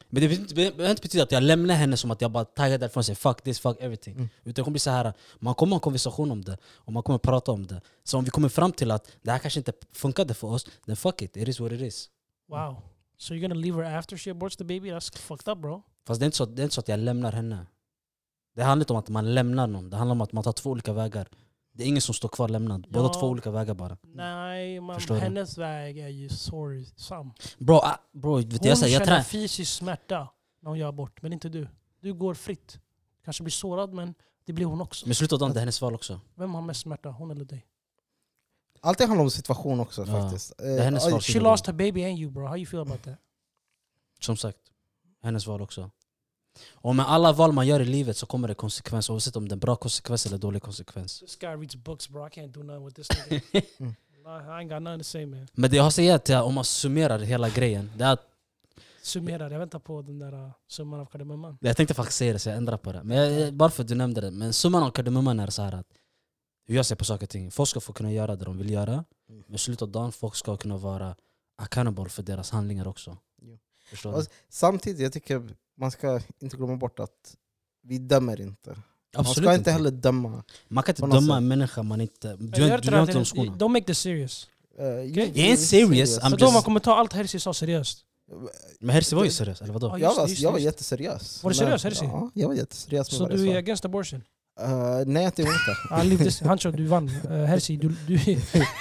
Men det behöver inte- det behöver inte betyda att jag lämnar henne som att jag bara taggar därifrån och säger fuck this, fuck everything.
Mm.
Utan det kommer bli så här, man kommer ha en konversation om det och man kommer prata om det. Så om vi kommer fram till att det här kanske inte funkade för oss, then fuck it, it is what it is.
Wow. So you're gonna leave her after she aborts the baby? That's fucked up bro.
Fast det är, inte så, det är inte så att jag lämnar henne. Det handlar inte om att man lämnar någon, det handlar om att man tar två olika vägar. Det är ingen som står kvar lämnad, båda
Ja.
två olika vägar bara.
Nej, man,
Förstår du?
hennes väg är ju sorgsam.
Bro, ah, bro vet
Hon
du, jag, säger, jag,
känner
trä,
fysisk smärta när hon gör abort, men inte du. Du går fritt. Kanske blir sårad, men det blir hon också.
Mm. men i slutet av dagen det är hennes val också.
Vem har mest smärta? Hon eller dig?
Allting handlar om situation också
Ja.
faktiskt. Eh,
är hennes
oj,
val.
She lost her baby and you bro. How you feel about that?
Som sagt, hennes val också. Och med alla val man gör i livet så kommer det konsekvens, oavsett om det är bra konsekvens eller dålig konsekvens.
This guy reads books bro. I can't do nothing with this nigga.
Mm.
I ain't got nothing to say man.
Men det jag har sagt är att om man summerar hela grejen, det är att,
Summerar, jag väntar på den där uh, summan av kardemumman.
jag tänkte faktiskt säga det så jag ändrar på det. Men jag, bara för att du nämnde det, men summan av kardemumman är så här att hur jag ser på saker och ting. Folk ska få kunna göra det de vill göra,
Mm.
men i slutet av dagen folk ska kunna vara accountable för deras handlingar också.
Jo.
Förstår
Och
du?
Samtidigt, jag tycker man ska inte glömma bort att vi dömer inte. Man
Absolut
ska inte heller döma. Eh,
Man kan inte
på något
döma
sätt.
en människa man inte... Du,
Jag
du,
gör det
du har
här
inte
till-
de skorna.
Don't make this serious.
Uh,
Jag
är inte serious, I'm
Så
just-
då man kommer ta allt Herzi sa seriöst.
Men Herse var ju seriös, eller vadå?
Ja,
jag,
just det,
var,
just det,
jag var
just det.
jätteseriös.
Var du
Men-
seriös, Herzi?
Ja, jag var jätteseriös med
Så
vad jag
du är
sa.
against abortion?
Eh, nej, jag är inte.
I leave this. Hancho, du vann. Eh, Herzi, du, du,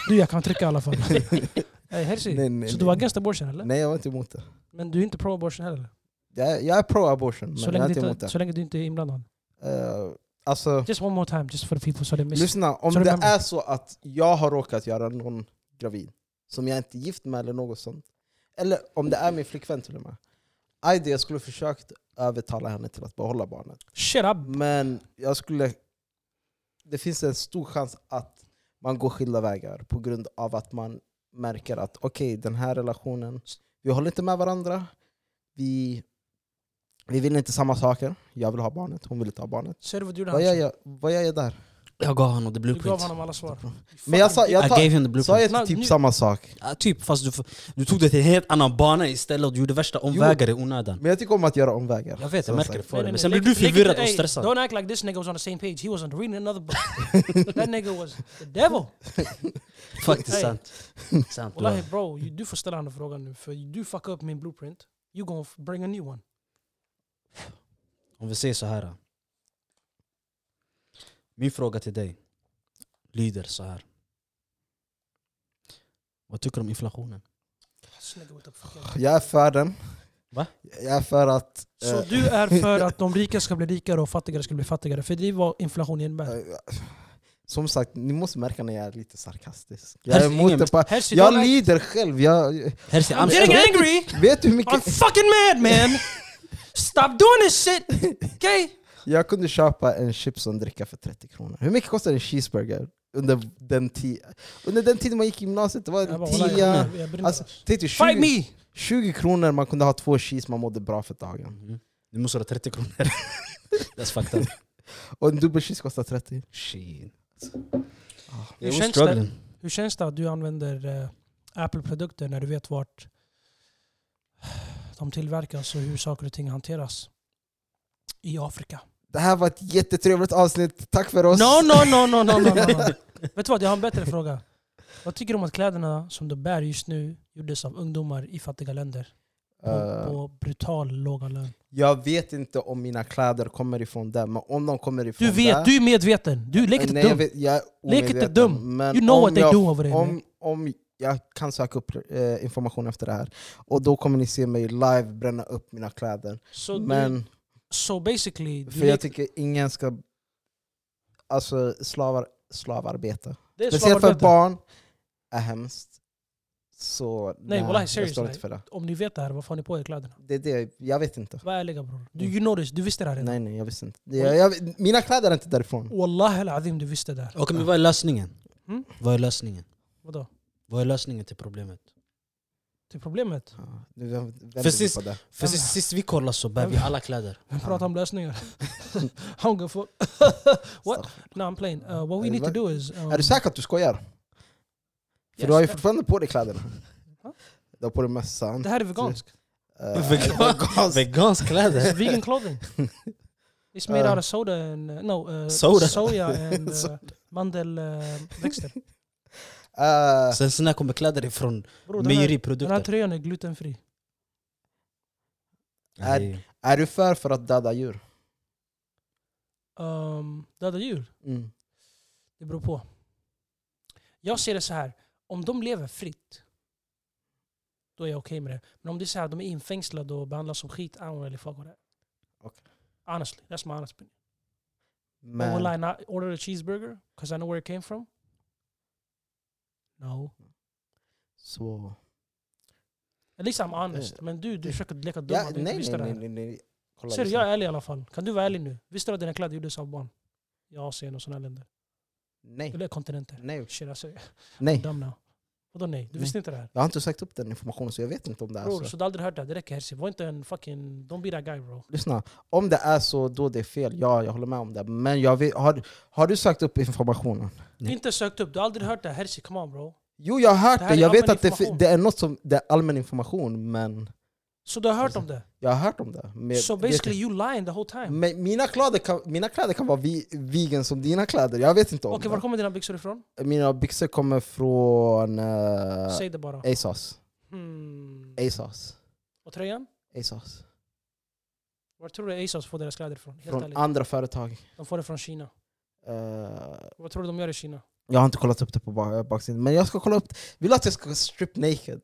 du jag kan trycka i alla fall. Hey, Herzi,
Nej, nej,
så
nej.
du var against abortion eller?
nej, jag var inte emot det.
Men du är inte pro-abortion heller?
Jag, är- jag är pro-abortion, men
Så
jag
länge,
är
du
inte emot
inte,
det.
så länge du inte är inblandad?
Eh, alltså,
Just one more time, just for the people so they miss
lyssna, om
så
det
remember-
är så att jag har råkat göra någon gravid som jag inte är gift med eller något sånt, eller om det är min flickvän till och med. Aidi, jag skulle försökt övertala henne till att behålla barnet.
Shut up!
Men jag skulle... Det finns en stor chans att man går skilda vägar på grund av att man märker att okej, den här relationen, vi håller inte med varandra. Vi, vi vill inte samma saker. Jag vill ha barnet, hon vill inte ha barnet.
Ser du vad du gjorde
Vad gör
Hancho?
jag, vad gör jag där?
Jag gav honom the
Du gav
blueprint.
honom alla svar.
Men jag sa, jag
I
tar,
gave him the
sa
blueprint.
jag
No,
inte
nu-
typ samma sak?
Ja, typ, fast du, f- du tog det till en helt annan bana istället och du gjorde värsta omvägar i onödan.
Men jag tycker om att göra omvägar.
Jag vet, jag
Så
märker det
sagt.
för dig.
Nej,
Men
nej,
sen
nej.
blev du
Lick- lick-
förvirrad och
hey,
stressad.
Don't act like this nigga was on the same page. He wasn't reading another book. That nigga was the devil.
Faktiskt
Hey.
sant. Sant. du
Wallahi
har-
bro, you- du får ställa honom frågan nu. För du fuckar upp min blueprint. You gonna f- bring a new one.
Om vi säger så här. Min fråga till dig lyder så här. Vad tycker du om inflationen?
This nigga with the fucking-
Jag är för den.
Va?
Jag är för att...
Så
eh,
du är för att de rika ska bli rikare och fattigare ska bli fattigare? För det var inflation innebär.
eh, Som sagt, ni måste märka när jag är lite sarkastisk. Jag är
Alltså, ingen-
emot det på
Hersi,
Jag
don't act-
lider själv, jag...
Hersi,
I'm
I'm
getting
Alltså,
straight.
angry!
Vet du hur
I'm
mycket...
fucking mad man! Stop doing this shit! Okay?
Jag kunde köpa en chips och en dricka för 30 kronor. Hur mycket kostar en cheeseburger? Under den, ti- under den tiden man gick i gymnasiet, det var
Jag
en
bara, "Walla, jag
Alltså, tia...
brinner, jag brinner."
Alltså, tänkte
Fight
20,
me!
20 kronor, man kunde ha två cheese, man mådde bra för dagen.
Mhm. Du måste ha 30 kronor. That's fucked up.
Och en dubbel cheese kostar 30.
Shit.
Hur
Jag
känns
är
det?
struggling.
Hur känns det att du använder eh, Apple-produkter när du vet vart de tillverkas och hur saker och ting hanteras? I Afrika.
Det här var ett jättetrevligt avsnitt, tack för oss!
No, no, no, no, no, no, no. Vet du vad, jag har en bättre fråga. Vad tycker du om att kläderna som du bär just nu gjordes av ungdomar i fattiga länder? På,
Eh,
på brutal låga lön.
jag vet inte om mina kläder kommer ifrån där, men om de kommer ifrån
Du vet,
där...
du är medveten. Du leker inte
Nej, jag
dum.
vet, jag är
Lek inte
omedveten,
dum.
men
You know
om
what they
jag
do over there. man.
om, om jag kan söka upp eh, information efter det här, och då kommer ni se mig live bränna upp mina kläder.
Så, du,
Men,
so basically, du
för jag
leker,
tycker ingen ska alltså, slavar, slavarbeta.
det är
Speciellt för
slavarbete.
barn är hemskt. Så
Nej, wallahi,
jag
serious,
står
nej.
inte för det.
Om ni vet det här, vad får ni på er kläderna?
det, är det jag vet inte.
Var ärliga bror. Du, you know this, du visste det här redan.
Mm. Nej, nej, jag visste inte. Jag, jag, mina kläder är inte därifrån.
Wallahi al-azim, du visste det här.
Okej, men vad är lösningen?
Mm?
Vad är lösningen?
Vadå?
Vad är lösningen till problemet?
Till problemet?
Ja, nu vänder vi
Precis.
på det.
För sist, sist vi kollade så bär vi alla kläder.
Vem pratar om lösningar? Hunger for... What? No I'm playing. Uh, what we need to do is... um,
Är du säker att du skojar? För
yes,
du har ju
det-
fortfarande på dig kläderna.
Ja.
Du har på dig mössan.
Det här är veganskt.
eh,
Vegan- Vegansk kläder?
Vegan clothing. It's made
Uh,
out of soda and... uh, No, uh,
Soda.
soja and uh, mandelväxter.
eh,
Sen så när kommer kläder ifrån
Bror, den, här- den här
mejeriprodukter?
tröjan är glutenfri.
Nej.
är du för för att döda djur?
Um, döda djur.
Mm.
Det beror på. Jag ser det så här. Om de lever fritt, då är jag okej med det. Men om det är så här, de är infängslade och behandlas som skit, I don't really fuck with that.
Okej.
Honestly, that's my honest opinion. But will I
Men,
not order a cheeseburger? Because I know where it came from? No.
Så...
At least I'm honest.
Eh,
Men du, du
eh,
försöker leka dum.
Ja,
att du
nej,
inte
nej,
visste det
nej,
här.
nej, nej. Kolla,
Ser du,
lyssna.
jag är ärlig i alla fall. Kan du vara ärlig nu? Visste du att dina kläder gjordes av barn? I Asien och sådana länder.
Nej,
Eller kontinenter.
nej,
Shit alltså, jag är
nej.
dum now. Vadå nej? Du
Nej.
visste inte det här?
Jag har inte sökt upp den informationen så jag vet inte om det är
Bror,
så.
så du har aldrig hört det här. Det räcker Herzi. Var inte en fucking... Don't be that guy bro.
Lyssna, om det är så då det är fel. Ja, jag håller med om det. Men jag vet, har, har du sökt upp informationen?
Nej.
Inte sökt upp. Du har aldrig hört det här. Herzi, come on bro.
Jo, jag har hört
Det
det.
här är
jag vet
allmän
att det, fi-
information.
det är något som det är allmän information, men
Så du har hört om det?
jag har hört om det. Men
So
jag Alltså, vet Mm,
basically
inte.
you lying the whole time.
men mina, kläder kan, mina kläder kan vara vi, vegan som dina kläder. Jag vet inte om
Okej, var
det.
kommer dina byxor ifrån?
Mina byxor kommer från eh,
Säg det bara.
ASOS.
Hmm.
ASOS.
Och tröjan?
ASOS.
Var tror du Asos får deras kläder ifrån? Helt
Från
ärligt.
andra företag.
De får det från Kina.
Eh,
Vad tror du de gör i Kina?
Jag har inte kollat upp det på ba- baksidan, men jag ska kolla upp det. Vill du att jag ska strip naked?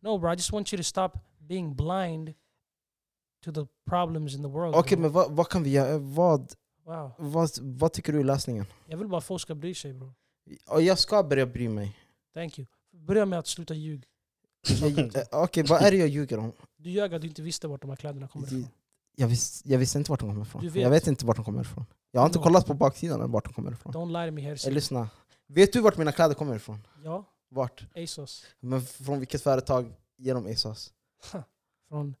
No bro, I just want you to stop being blind to the problems in the world.
Okej,
bro.
men vad, vad kan vi göra? Eh, Vad,
Wow.
vad, vad tycker du är lösningen?
Jag vill bara att folk ska bry sig bro.
Ja, Jag ska börja bry mig.
Thank you. Börja med att sluta ljuga.
Jag- eh, Okej, vad är det jag ljuger om?
Du ljög att du inte visste vart de här kläderna kommer
Det-
ifrån.
Jag, vis, jag visste inte vart de kommer ifrån.
Du vet.
Jag vet inte vart de kommer ifrån. Jag har inte
Jo.
kollat på baksidan än vart de kommer ifrån.
Don't lie to me here.
Eh,
Sid.
lyssna. Vet du vart mina kläder kommer ifrån?
Ja,
Vart?
Asos.
Men från vilket företag? Genom ASOS.
Från,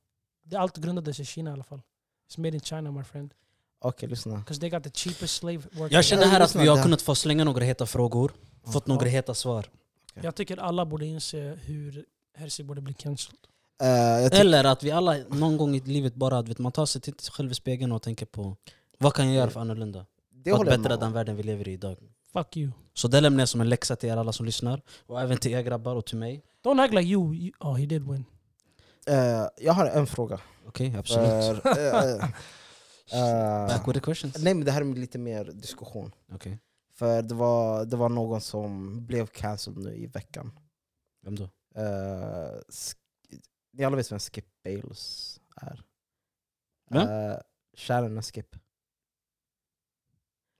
det allt grundades i Kina i alla fall. It's made in China my friend.
Okej, lyssna.
Because they got the cheapest slave workers.
Jag känner här att vi har
Där.
kunnat få slänga några heta frågor,
Ja.
fått några heta svar.
Jag tycker alla borde inse hur Herzi borde bli cancelled.
Eh, jag ty-
Eller att vi alla någon gång i livet bara, du vet, man tar sig till sig själv i spegeln och tänker på vad kan jag göra för annorlunda?
Mm. det
För att
håller jag med
bättra
om.
den världen vi lever i idag.
Fuck you.
Så det lämnar jag som en läxa till er alla som lyssnar, och även till er grabbar och till mig.
Don't act like you. you oh, he did win.
Eh, jag har en fråga.
Okej, absolut.
För, eh, eh, eh,
Back with the questions.
Nej men det här är lite mer diskussion.
Okej,
För det var, det var någon som blev cancelled nu i veckan.
vem då?
Eh, Sk- ni alla vet vem Skip Bales är?
Vem?
Eh, Kärnan Skip. Okej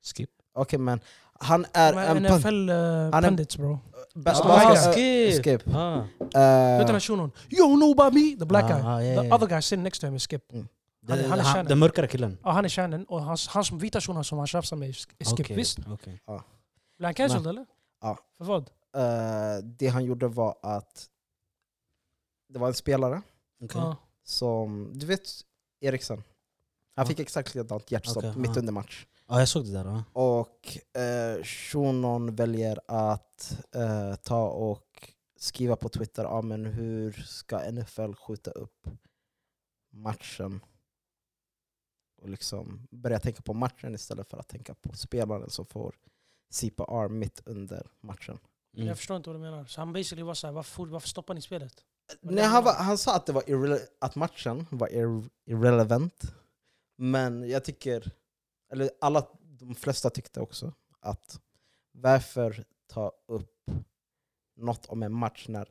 Skip.
men han är
De
en...
här
punk-
NFL
Han är-
uh, pundits bro.
ba-
Ah,
ba-
Skip.
eh, Skip.
Ah.
Vet du den här
Eh,
shunon? You know about me? The black
Ah,
guy.
ah, ja,
The
ja.
other guy sitting next to him is Skip. Han är- han är
Den- han-
kärnan.
Den mörkare killen?
Ja, han är kärnan och hans, hans vita shunon som han tjafsar med är Sk- är Skip.
Okej,
Visst?
okej.
Blev han cancelled eller?
Ja.
För vad?
eh, det han gjorde var att det var en spelare
Okej.
Ja.
som, du vet Eriksen? Han
Ja.
fick exakt likadant hjärtstopp
Okej,
mitt
ja.
under match.
Ja, Ah, jag såg det där. va?
Och eh, Shunon väljer att eh, ta och skriva på Twitter ah, men hur ska NFL skjuta upp matchen. Och liksom börja tänka på matchen istället för att tänka på spelaren som får CPR mitt under matchen.
Mm.
Jag förstår inte vad du menar. Så han basically var såhär, varför, varför stoppar ni spelet? Vad
Nej,
menar
han,
du?
var, han sa att, det var irrele- att matchen var ir- irrelevant. Men jag tycker, eller alla, de flesta tyckte också att varför ta upp något om en match när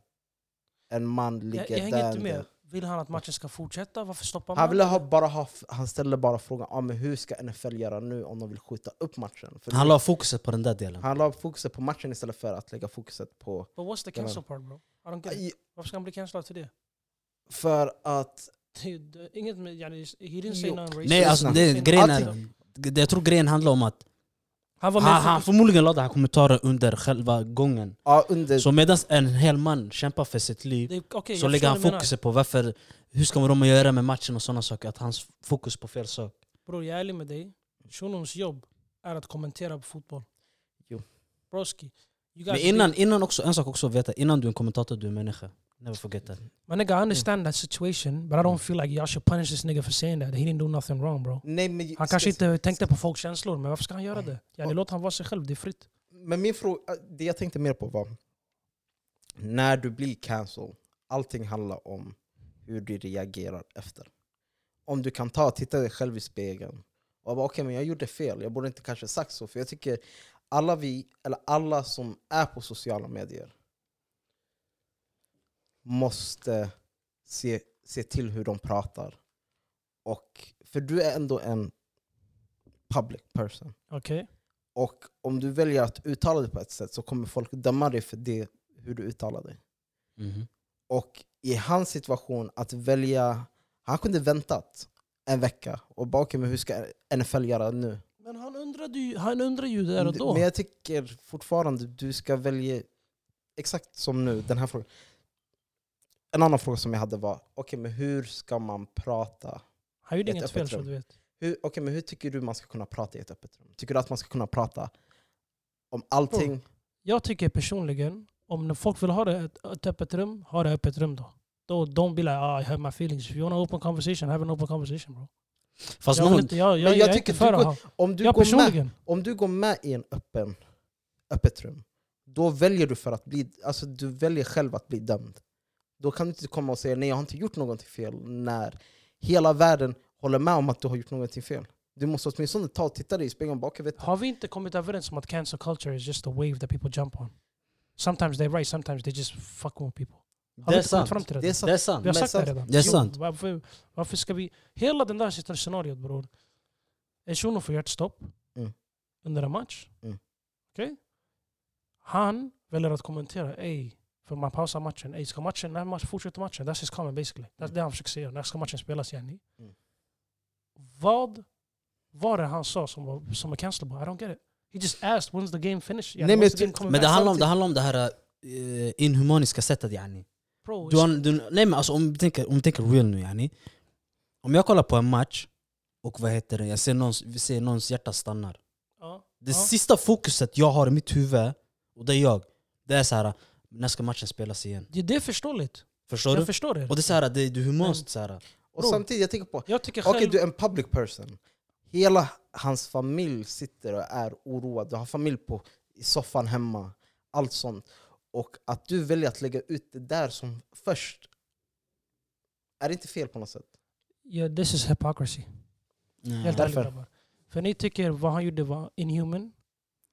en man ligger
Jag, jag hänger
där.
inte med. Vill han att matchen ska fortsätta? Varför stoppar man?
Han, ville ha, bara ha, han ställde bara frågan ah, men hur ska NFL göra nu om de vill skjuta upp matchen. För
Han la fokuset på den där delen.
han la fokuset på matchen istället för att lägga fokuset på...
But what's the
Jag
cancel part bro? I don't get it. Varför ska han bli cancellad för det?
För att...
Det är ju- det är Inget med... yani, He didn't say
Jo.
någon racist.
Nej, alltså
Han
det,
sa
grejen är,
ingenting.
det- jag tror grejen handlar om att
Han var
han,
med
han
han,
förmodligen la den här kommentaren under själva gången.
Ja, under,
Så medan en hel man kämpar för sitt liv så lägger han fokuset på varför, hur ska de göra med matchen och sådana saker. Att hans fokus på fel sak.
Bror, jag är ärlig med dig. Shunons jobb är att kommentera på fotboll.
Jo.
Broski. You guys
Men innan, innan också, en sak också att veta, innan du är en kommentator, du är en människa. Never forget that.
My nigga, I understand that situation, but I don't feel like y'all should punish this nigga for saying that. He didn't do nothing wrong bro.
nej, men,
Han kanske inte tänkte på folks känslor, men varför ska han göra det? Yani, låt han vara sig själv, det är fritt.
Men min fråga, det jag tänkte mer på var, när du blir cancelled, allting handlar om hur du reagerar efter. Om du kan ta och titta dig själv i spegeln och bara okej men jag gjorde fel, jag borde inte kanske sagt så. För jag tycker alla vi, eller alla som är på sociala medier måste se, se till hur de pratar. Och, för du är ändå en public person.
Okej?
Och om du väljer att uttala dig på ett sätt så kommer folk döma dig för det, hur du uttalar dig.
Mhm.
Och i hans situation, att välja... Han kunde väntat en vecka och bara okej, men hur ska NFL göra nu?
Men han undrade ju, han undrade ju där och då.
Men jag tycker fortfarande du ska välja exakt som nu, den här frågan. En annan fråga som jag hade var, okej men hur ska man prata?
han gjorde
ett
inget
öppet
fel så
rum.
du vet.
Hur, okej, men hur tycker du man ska kunna prata i ett öppet rum? Tycker du att man ska kunna prata om allting?
Oh. Jag tycker personligen, om när folk vill ha det, ett, ett öppet rum, ha det öppet rum då. Då don't be like ah, I have my feelings. If you want an open conversation, have an open conversation bro.
Fast
jag, vill
någon,
inte, jag, jag,
jag
jag, är
tycker
inte för
du
att
går-
ha.
Om, du
Jag
går med,
personligen.
om du går med i en öppen, öppet rum, då väljer du för att bli, alltså du väljer själv att bli dömd. Då kan du inte komma och säga nej jag har inte gjort någonting fel när hela världen håller med om att du har gjort någonting fel. Du måste åtminstone ta och titta dig i spegeln bak. Vet,
Har vi inte kommit överens om att cancel culture is just a wave that people jump on? Sometimes they're right, sometimes they just fuck with people. Har
det
vi
är
inte kommit
sant.
fram till det?
det är sant.
Det är sant.
Vi har
Men
sagt det
sant.
redan.
Det är sant.
Varför, varför ska vi... Hela den där sista scenariot bror. En shuno får hjärtstopp
Mm.
under en match.
Mm.
Okej? Han väljer att kommentera. Ey, för man pausar matchen. Ey, ska matchen... När match, fortsätter matchen? That's his comment basically.
Mm.
That's det han försöker säga. När ska matchen spelas yani?
Mm.
Vad var det han sa som var, som var cancelable? I don't get it. He just asked when's the game finish?
Nej, men
when's
jag
the game
tyck-
coming
Men det
back?
handlar om det, handlar om det här eh, inhumaniska sättet yani.
Bro,
Du, har- du, nej men alltså om du tänker, om du tänker real nu yani. Om jag kollar på en match och vad heter det, jag ser någons, vi ser någons hjärta stannar.
ja,
Det
ja.
sista fokuset jag har i mitt huvud, och det är jag, det är så här när ska matchen spelas igen?
Det- Det är förståeligt.
Förstår
Jag
du?
förstår det.
Och det är så här, det är humant så här.
Och samtidigt, jag tänker på,
Jag tycker
Okej,
själv...
du är en public person. Hela hans familj sitter och är oroad. Du har familj på, i soffan hemma. Allt sånt. Och att du väljer att lägga ut det där som först, är det inte fel på något sätt?
Yeah, this is hypocrisy.
Mm.
Helt
Därför.
ärligt grabbar. För ni tycker vad han gjorde var inhuman.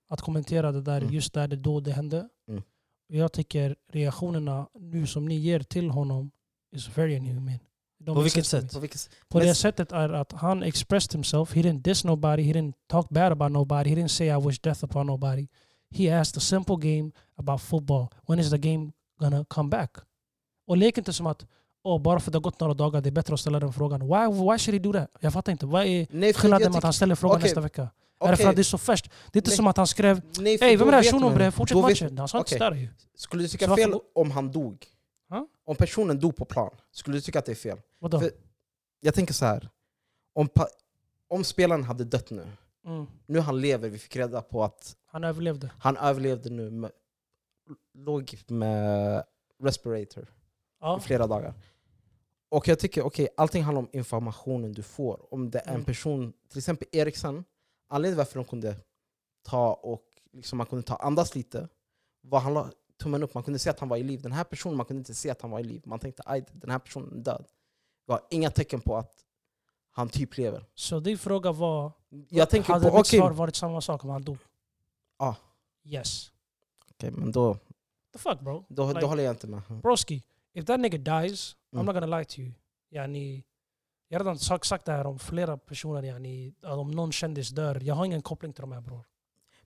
Att kommentera det där
Mm.
just där det då det hände.
Mm.
Och jag tycker reaktionerna nu som ni ger till honom is very inhuman. De
På vilket
exist to me.
sätt?
På vilket, s-
På
Men
det
s-
sättet är att han expressed himself. He didn't diss nobody. He didn't talk bad about nobody. He didn't say I wish death upon nobody. He asked a simple game about football. When is the game gonna come back? Och lek inte som att oh, bara för det har gått några dagar det är bättre att ställa den frågan. Why, why should he do that? Jag fattar inte. Vad är
nej, för
skillnaden med
jag
att
tycker-
han ställer frågan
Okej.
nästa vecka? Är det
okej,
för att det är så färskt? Det är inte
Nej.
som att han skrev
nej, för
Ey, vem
då
är det här
vet
shunon
man-
bre? Fortsätt
då vet-
matchen. Han sa inte
Okej.
sådär ju.
Skulle du
Så
tycka
varför
fel
då-
om han dog?
Ja?
Om personen dog på plan, skulle du tycka att det är fel?
Vadå?
För- Jag tänker så här. om, pa- om spelaren hade dött nu,
Mm.
nu han lever, vi fick reda på att
Han överlevde.
Han överlevde nu, med, låg med respirator i
Ja.
flera dagar. Och jag tycker, okej, allting handlar om informationen du får. Om det är en
Mm.
person, till exempel Eriksen, anledningen varför de kunde ta och liksom man kunde ta andas lite, var han la tummen upp, man kunde se att han var i liv. Den här personen, man kunde inte se att han var i liv. Man tänkte, aj, den här personen är död. Det var inga tecken på att han typ lever.
Så din fråga var
Jag tänker
hade
på,
mitt
okej,
svar varit samma sak om han dog?
Ja.
Yes.
Okej, men då,
The fuck bro?
då,
Like-
då håller jag inte med.
Broski, if that nigga dies,
Mm.
I'm not gonna lie to you. Yani, jag har redan sagt, sagt det här om flera personer, yani, att om någon kändis dör. Jag har ingen koppling till de här bror.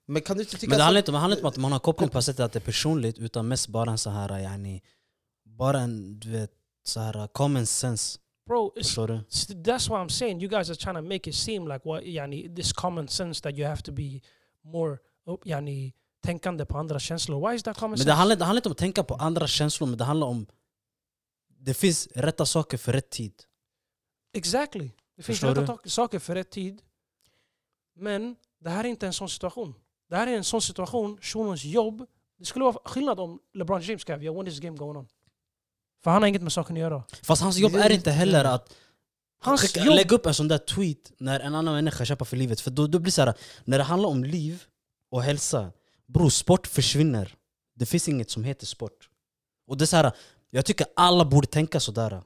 Men kan du inte tycka
Men det
så-
handlar inte, det handlar inte om att man har koppling på sättet att det är personligt utan mest bara en så här, yani, bara en du vet, så här common sense.
Bro, it's,
Förstår du?
s- that's why I'm saying you guys are trying to make it seem like what, yani, this common sense that you have to be more oh, yani, tänkande på andra känslor. Why is that common
Men det
sense?
handlar, det handlar inte om att tänka på andra känslor, men det handlar om... Det finns rätta saker för rätt tid.
Exactly. Det finns
Förstår
rätta
du?
tak- saker för rätt tid. Men det här är inte en sån situation. Det här är en sån situation, shunons jobb. Det skulle vara skillnad om LeBron James skrev “Yo, when is this game going on?” För han har inget med saken att göra.
Fast hans jobb är inte heller att
Hans
skicka,
jobb-
lägga upp en sån där tweet när en annan människa kämpar för livet. För då, då blir det så här, när det handlar om liv och hälsa, bror sport försvinner. Det finns inget som heter sport. Och det är så här, jag tycker alla borde tänka sådär.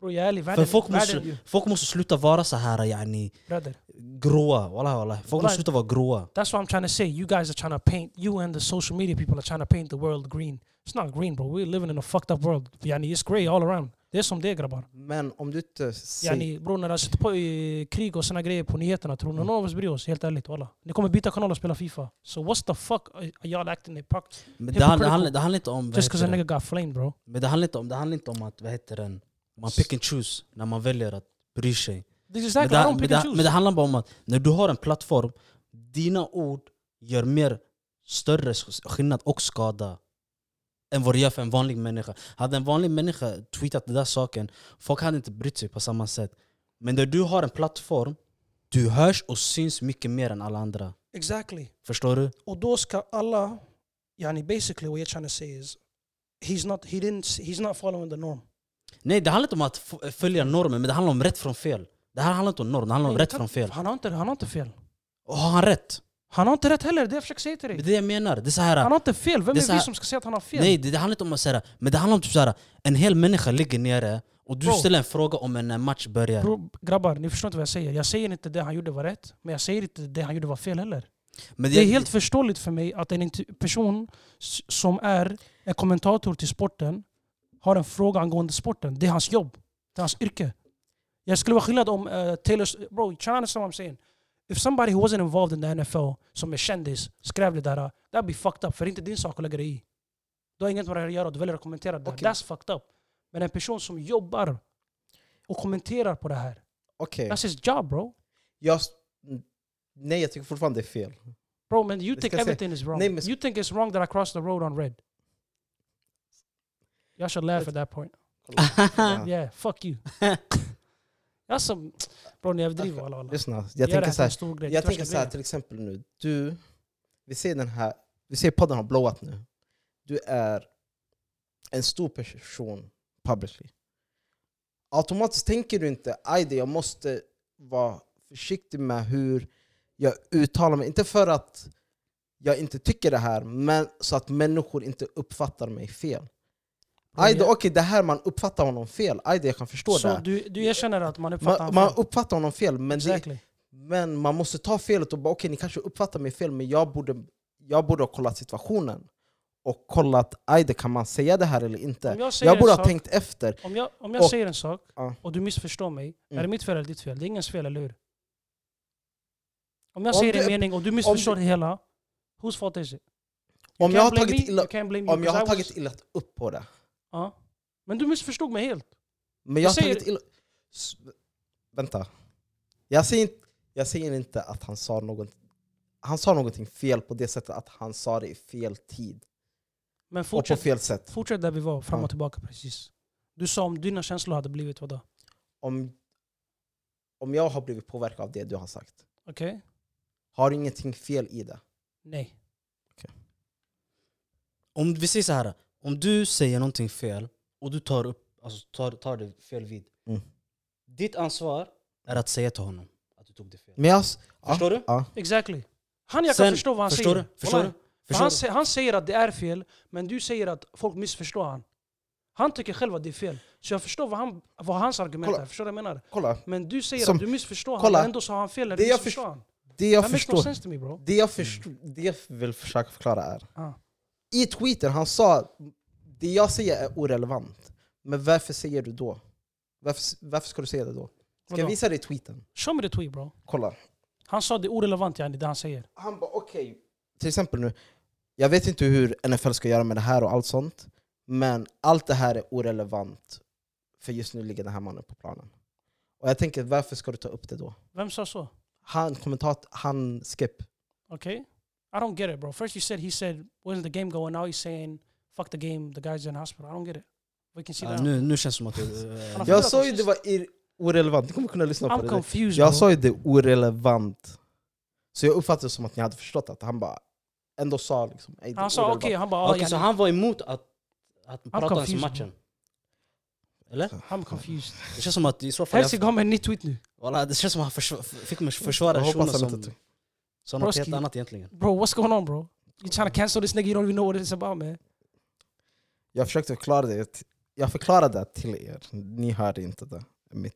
Bro, jag är ärlig,
För
världen...
folk
världen
måste, folk måste sluta vara så här yani,
brother.
gråa. Wallah, wallah. Folk måste sluta vara gråa.
That's what I'm trying to say. You guys are trying to paint... You and the social media people are trying to paint the world green. It's not green bro. We're living in a fucked up world. Yani, it's grey all around. Det är som det grabbar.
Men om du inte säger...
Yani, bror, när de sätter på eh, krig och såna grejer på nyheterna, tror ni någon av oss bryr oss? Helt ärligt, walla. Ni kommer byta kanal och spela FIFA. So what's the fuck are y'all acting like puck?
Men det, handlar, det, handlar, det handlar inte om... vad
Just because a
heter det?
nigga got flamed bro.
Men det handlar inte om, det handlar inte om att, vad heter den? Man pick and choose när man väljer att bry sig.
This is
Men
exactly, I
det,
don't
men,
pick and
det, men
choose.
det handlar bara om att när du har en plattform, dina ord gör mer större sk- skillnad och skada än vad det gör för en vanlig människa. Hade en vanlig människa tweetat den där saken, folk hade inte brytt sig på samma sätt. Men när du har en plattform, du hörs och syns mycket mer än alla andra.
Exactly.
Förstår du?
Och då ska alla, yani basically what you're trying to say is he's not, he didn't, s- he's not following the norm.
Nej, det handlar inte om att f- följa normer, men det handlar om rätt från fel. Det här handlar inte om norm, det handlar om
Nej,
rätt
kan-
från fel.
Han har inte, han har inte fel.
Och har han rätt?
Han har inte rätt heller, det jag försöker säga till
Det är
dig.
det jag menar. Det är så här,
Han har inte fel, vem
Det är
är
så
vi
här-
som ska säga att han har fel?
Nej, det, det handlar inte om att säga Men det handlar om typ såhär, en hel människa ligger nere och du
Bro.
ställer en fråga om en eh, match börjar.
Bro, grabbar, ni förstår inte vad jag säger. Jag säger inte det han gjorde var rätt, men jag säger inte det han gjorde var fel heller.
men
Det är helt förståeligt för mig att en inter- person s- som är en kommentator till sporten har en fråga angående sporten. Det är hans jobb. Det är hans yrke. Jag skulle vara skillnad om uh, Taylor... S- Bro, try to understand what I'm saying. If somebody who wasn't involved in the NFL, som är kändis, skrev det där, uh, that'd be fucked up. För det är inte din sak att lägga dig i. Du har inget med det här att göra och du väljer att kommentera det.
Okej.
That's fucked up. Men en person som jobbar och kommenterar på det här.
Okej.
That's his job bro.
Jag... s- Nej, jag tycker fortfarande det är fel.
Bro man, you
Det
think
ska jag säga.
everything is wrong.
Nej, men-
you think it's wrong that I crossed the road on red. Y'all should laugh at that point.
Ja.
Yeah, fuck you. That's some... Bro ni överdriver alla. alla.
Lyssna, jag
Gör det
tänker
här
så
till en stor
här.
grej.
Jag
Det är
tänker
värsta
så här,
grejen.
till exempel nu. Du, vi ser den här, vi ser podden har blowat nu. Du är en stor person publicly. Automatiskt tänker du inte att jag måste vara försiktig med hur jag uttalar mig. Inte för att jag inte tycker det här, men så att människor inte uppfattar mig fel.
Bro,
Ajde,
jag-
okej, det här man uppfattar honom fel. Ajde, jag kan förstå
Så
det. här.
du, du erkänner att man uppfattar
Man,
han
man
fel.
uppfattar honom fel, men det,
Exactly.
men man måste ta felet och bara okej, ni kanske uppfattar mig fel, men jag borde, jag borde ha kollat situationen. Och kollat, aj det, kan man säga det här eller inte?
Om jag
Jag,
säger en
borde ha
sak-
tänkt efter.
Om jag, om jag
Och-
säger en sak
Ja.
och du missförstår mig, är det
Mm.
mitt fel eller ditt fel? Det är ingens fel, eller hur? Om jag
Om
säger
du
en
är-
mening och du missförstår det hela, whose fault is it? You
Om jag
can't
har
blame
tagit
me,
illa-
you can't blame me
Om jag
because
har
I was-
tagit illa upp på det.
Ja. Men du missförstod mig helt.
Men
Jag
jag har
säger-
tagit illa... S- Vänta. Jag säger, inte, jag säger inte att han sa något... Han sa någonting fel på det sättet att han sa det i fel tid.
Men
Och
fortsätt,
på fel sätt.
fortsätt där vi var, fram
Ja.
och tillbaka precis. Du sa om dina känslor hade blivit vadå?
Om, om jag har blivit påverkad av det du har sagt,
Okej?
har ingenting fel i det?
Nej.
Om vi säger så här, om du säger någonting fel och du tar, upp, alltså tar, tar det fel vid.
Mm.
Ditt ansvar är att säga till honom att du tog det fel.
Men jag... s- ja,
Förstår du?
Ja.
Exactly. Han jag kan
Sen-
förstå vad han
Förstår
säger.
du? Förstår du?
Wallahi. För
Förstår
han,
du?
sä- han säger att det är fel, men du säger att folk missförstår han. Han tycker själv att det är fel. Så jag förstår vad, han, vad hans argument
Kolla.
är. Förstår du vad jag menar?
Kolla,
Men du säger
Som-
att du missförstår han,
kolla.
men ändå sa han fel när
Det
du
jag
missförstår han.
det jag
That makes no
förstår...
sense to me bro.
Det jag, förstår, det jag vill försöka förklara är...
Ah.
I tweeten, han sa det jag säger är orelevant. Men varför säger du då? Varför, varför ska du säga det då? Ska jag
Vadå?
visa dig tweeten?
Show me the tweet bro.
Kolla.
Han sa det är orelevant yani, det han säger.
Han bara okej, till exempel nu. Jag vet inte hur NFL ska göra med det här och allt sånt. Men allt det här är orelevant. För just nu ligger den här mannen på planen. Och jag tänker, varför ska du ta upp det då?
Vem sa så?
Han kommentat, han skip.
Okay? I don't get it, bro. First you said he said wasn't the game going, now he's saying fuck the game, the guy's in hospital. I don't get it. We can see
Ja,
that.
nu, nu känns det som att eh, du...
Han har-
Jag sa ju det var ir- orelevant, ni kommer kunna lyssna på
I'm
det.
confused bro.
Jag sa ju det orelevant. Så jag uppfattade det som att ni hade förstått att han bara ändå sa liksom... "Ey, det är
han sa okej,
orelevant."
han bara ah,
Okej, så
yani,
han var emot att, att prata
confused.
om matchen? Eller?
I'm confused.
Det känns som att i så fall...
Helsing gav mig en ny tweet nu.
Walla, det känns som att han försva- f- fick mig försvara
Jag
shunon
hoppas han
som,
inte...
som något helt
Broski.
annat egentligen.
Bro, what's going on bro? You trying to cancel this nigga, you don't even know what it's about man.
Jag försökte förklara det. Jag förklarade det till er. Ni hörde inte det. Mitt,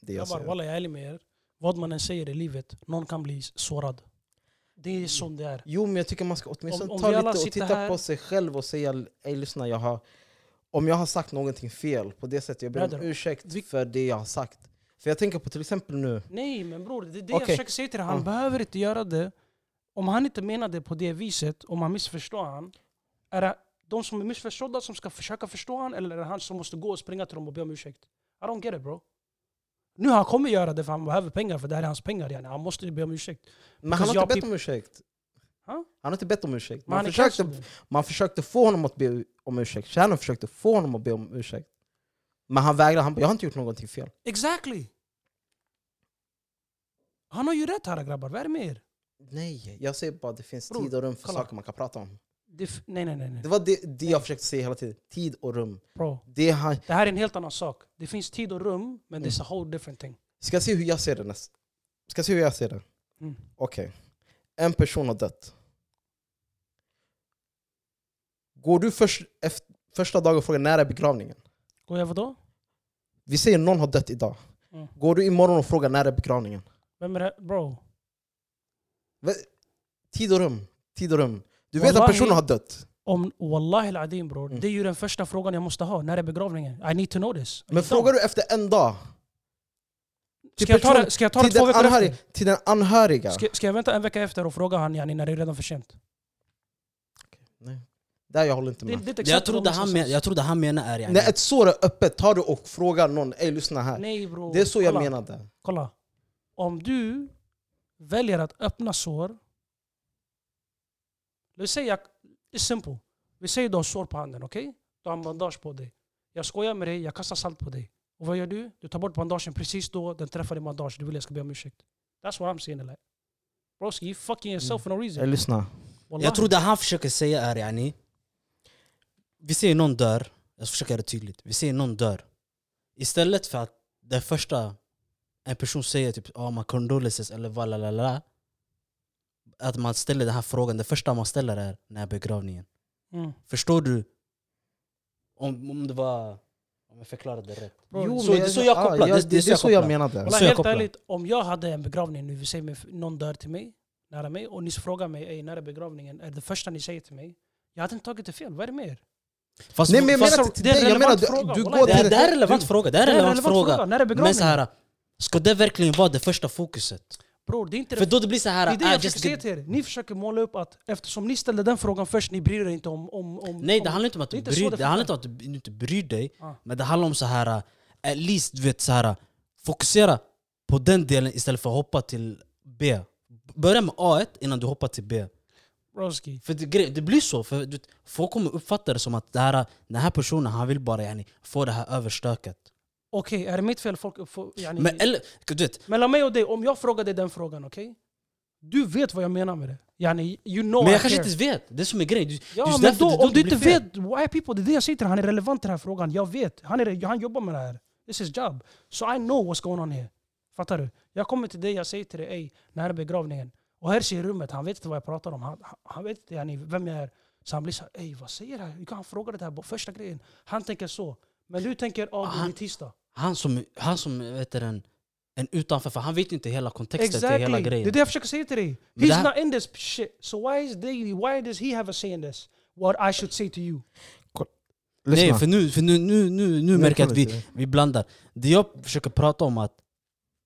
det jag
Jag bara
säger.
walla jag är ärlig med er. Vad man än säger i livet, någon kan bli sårad. Det är som det är.
Jo, men jag tycker man ska åtminstone
Om- om
ta
vi alla
lite och
sitter
titta
här-
på sig själv och säga ey lyssna, jag har om jag har sagt någonting fel på det sättet, jag ber om
Bröder, vi-
ursäkt för det jag har sagt. För jag tänker på till exempel nu,
Nej men bror, det är det jag
Okej.
försöker säga till dig. Han
Ja.
behöver inte göra det. Om han inte menar det på det viset, om han missförstår han, är det de som är missförstådda som ska försöka förstå han eller är det han som måste gå och springa till dem och be om ursäkt? I don't get it bro. Nu han kommer göra det för han behöver pengar, för det här är hans pengar. Yani. Han måste be om ursäkt.
men han
Because
har
jag
inte bett
peop-
om ursäkt.
Ha?
Han har inte bett om ursäkt.
Men
Man
han är
försökte,
cancelled.
man försökte få honom att be om ursäkt, kärnan försökte få honom att be om ursäkt. Men han vägrade, han bara, jag har inte gjort någonting fel.
Exactly! Han har ju rätt här grabbar, vad är det med er?
Nej, jag säger bara det finns
Bror,
tid och rum för
kolla.
saker man kan prata om.
Det f- nej nej nej, nej.
Det var det, det jag försökte säga hela tiden. Tid och rum.
Bro,
Det han,
det här är en helt annan sak. Det finns tid och rum, men det är a whole different thing.
ska jag se hur jag ser det näst? Ska jag se hur jag ser det?
Mm.
Okej. En person har dött. Går du först, efter, första dagen och frågar när är begravningen?
Går jag vadå?
Vi säger någon har dött idag.
Mm.
Går du imorgon och frågar när är begravningen?
Vem är det? Bro.
Tid och rum. Tid och rum. Du vet att
Wallahi.
personen har dött.
Om, wallahi al-adim bror,
Mm.
det är ju den första frågan jag måste ha. När är begravningen? I need to know this.
Men frågar du efter en dag? till
ska, jag ta
person-
det, ska jag ta det
till
två
den
veckor
anhöriga?
efter?
Till den anhöriga?
Ska, ska jag vänta en vecka efter och fråga han yani, när det är redan för sent?
Mm. Där jag håller inte
Det,
med.
det är ett
Jag
exempel på
trodde,
vad
han
som
men,
sades.
jag trodde han menar är yani,
När ett sår är öppet, tar du och frågar någon Ey lyssna här.
Nej bror.
Det är så jag
kolla,
menade.
Kolla. Om du väljer att öppna sår. Låt säga, it's simple. Vi säger du har sår på handen, okej? Du har en bandage på dig. Jag skojar med dig, jag kastar salt på dig. Och vad gör du? Du tar bort bandagen precis då den träffar din bandage. Du vill jag ska be om ursäkt. That's what I'm saying. Like. Broski, you fucking yourself for no
Ey
reason.
lyssna.
Wallahi.
Jag trodde han försöker säga är yani, vi ser någon dör, jag ska försöka göra det tydligt, vi ser någon dör. Istället för att det första en person säger typ oh, my condolences eller vad la la la att man ställer den här frågan, det första man ställer är när är begravningen.
Mm.
Förstår du? Om, om det var... Om jag förklarade det rätt.
Bro,
Jo,
så-
men
det är
jag-
så jag
ja,
kopplar.
jag-
Det- det är
Det är
så jag
så jag
kopplar.
menar.
Kolla,
Så jag
helt
kopplar.
ärligt, om jag hade en begravning nu, vi säger min- någon dör till mig, nära mig, och ni frågar mig "Ey, när är begravningen, är det första ni säger till mig? Jag hade inte tagit det fel, vad är det mer?
Fast,
Nej men jag
fast
menar
så-
till
det är
dig,
en
jag menar
relevant
du,
fråga,
du
wallah,
går
det, är-
till...
det är en relevant fråga. Det är en relevant, fråga.
När är
Men
begravningen?
så här, ska det verkligen vara det första fokuset?
Bror, det är inte
För
det,
då det blir så
det,
här...
är det jag
ah,
försöker
just
säga
get,
till er. Ni försöker måla upp att eftersom ni ställde den frågan först, ni bryr er inte om... om, om
nej,
om,
det handlar inte om att
Det är
du
inte
bryr
så
dig.
det
Det handlar inte om att du inte bryr dig.
Ah.
Men det handlar om så här... ah, At least, du vet, så här, ah, fokusera på den delen istället för att hoppa till B. Börja med A1 innan du hoppar till B.
Broski.
För det, grej- det blir så. För du, vet, folk kommer uppfatta det som att det här, den här personen han vill bara yani, få det här överstöket.
Okej, är det mitt fel folk får... Yani,
Men, eller, du vet,
mellan mig och dig, om jag frågar dig den frågan, okej? Du vet vad jag menar med det. Yani, you know
men
I
jag kanske
care.
inte vet. Det är som är grejen. Du-
Ja,
just
men
därför
då,
det är
om du
det
inte
blir fel.
vet, why people, det är det jag säger till dig, han är relevant i den här frågan. Jag vet, han, är, han jobbar med det här. This is job. So I know what's going on here. Fattar du? Jag kommer till dig, jag säger till dig, ey, när är begravningen? Och här ser rummet, han vet inte vad jag pratar om. Han, han- han vet inte yani, vem jag är. Så han blir såhär, ey vad säger han? Hur kan han fråga det här? på Första grejen. Han tänker så. Men du tänker, ja det är
Han-
tisdag.
Han som, han som vet du, en, en utanför, för han vet inte hela kontexten till hela
Exactly. Det
grejen.
är det jag försöker säga till dig.
Men det
He's
här-
not in this shit. So why, is they, why does he have a say in this? What I should say to you?
Nej,
Lyssna.
för nu, för nu, nu, nu, nu märker jag att
kan
vi,
inte.
vi blandar. Det jag försöker prata om att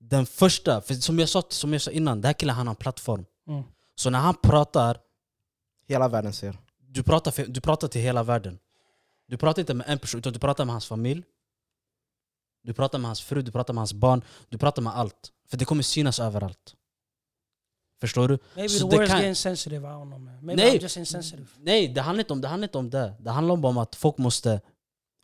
den första, för som jag sa, som jag sa innan, den här killen han har en plattform.
Mm.
Så när han pratar,
Hela världen ser.
du pratar, för, du pratar till hela världen. Du pratar inte med en person, utan du pratar med hans familj. Du pratar med hans fru, du pratar med hans barn, du pratar med allt. För det kommer synas överallt. Förstår du?
Maybe
Så
the
det
words
kan-
get insensitive, I don't know man. Maybe
Nej.
I'm just insensitive.
Nej, det handlar, inte om, det handlar inte om det. Det handlar bara om att folk måste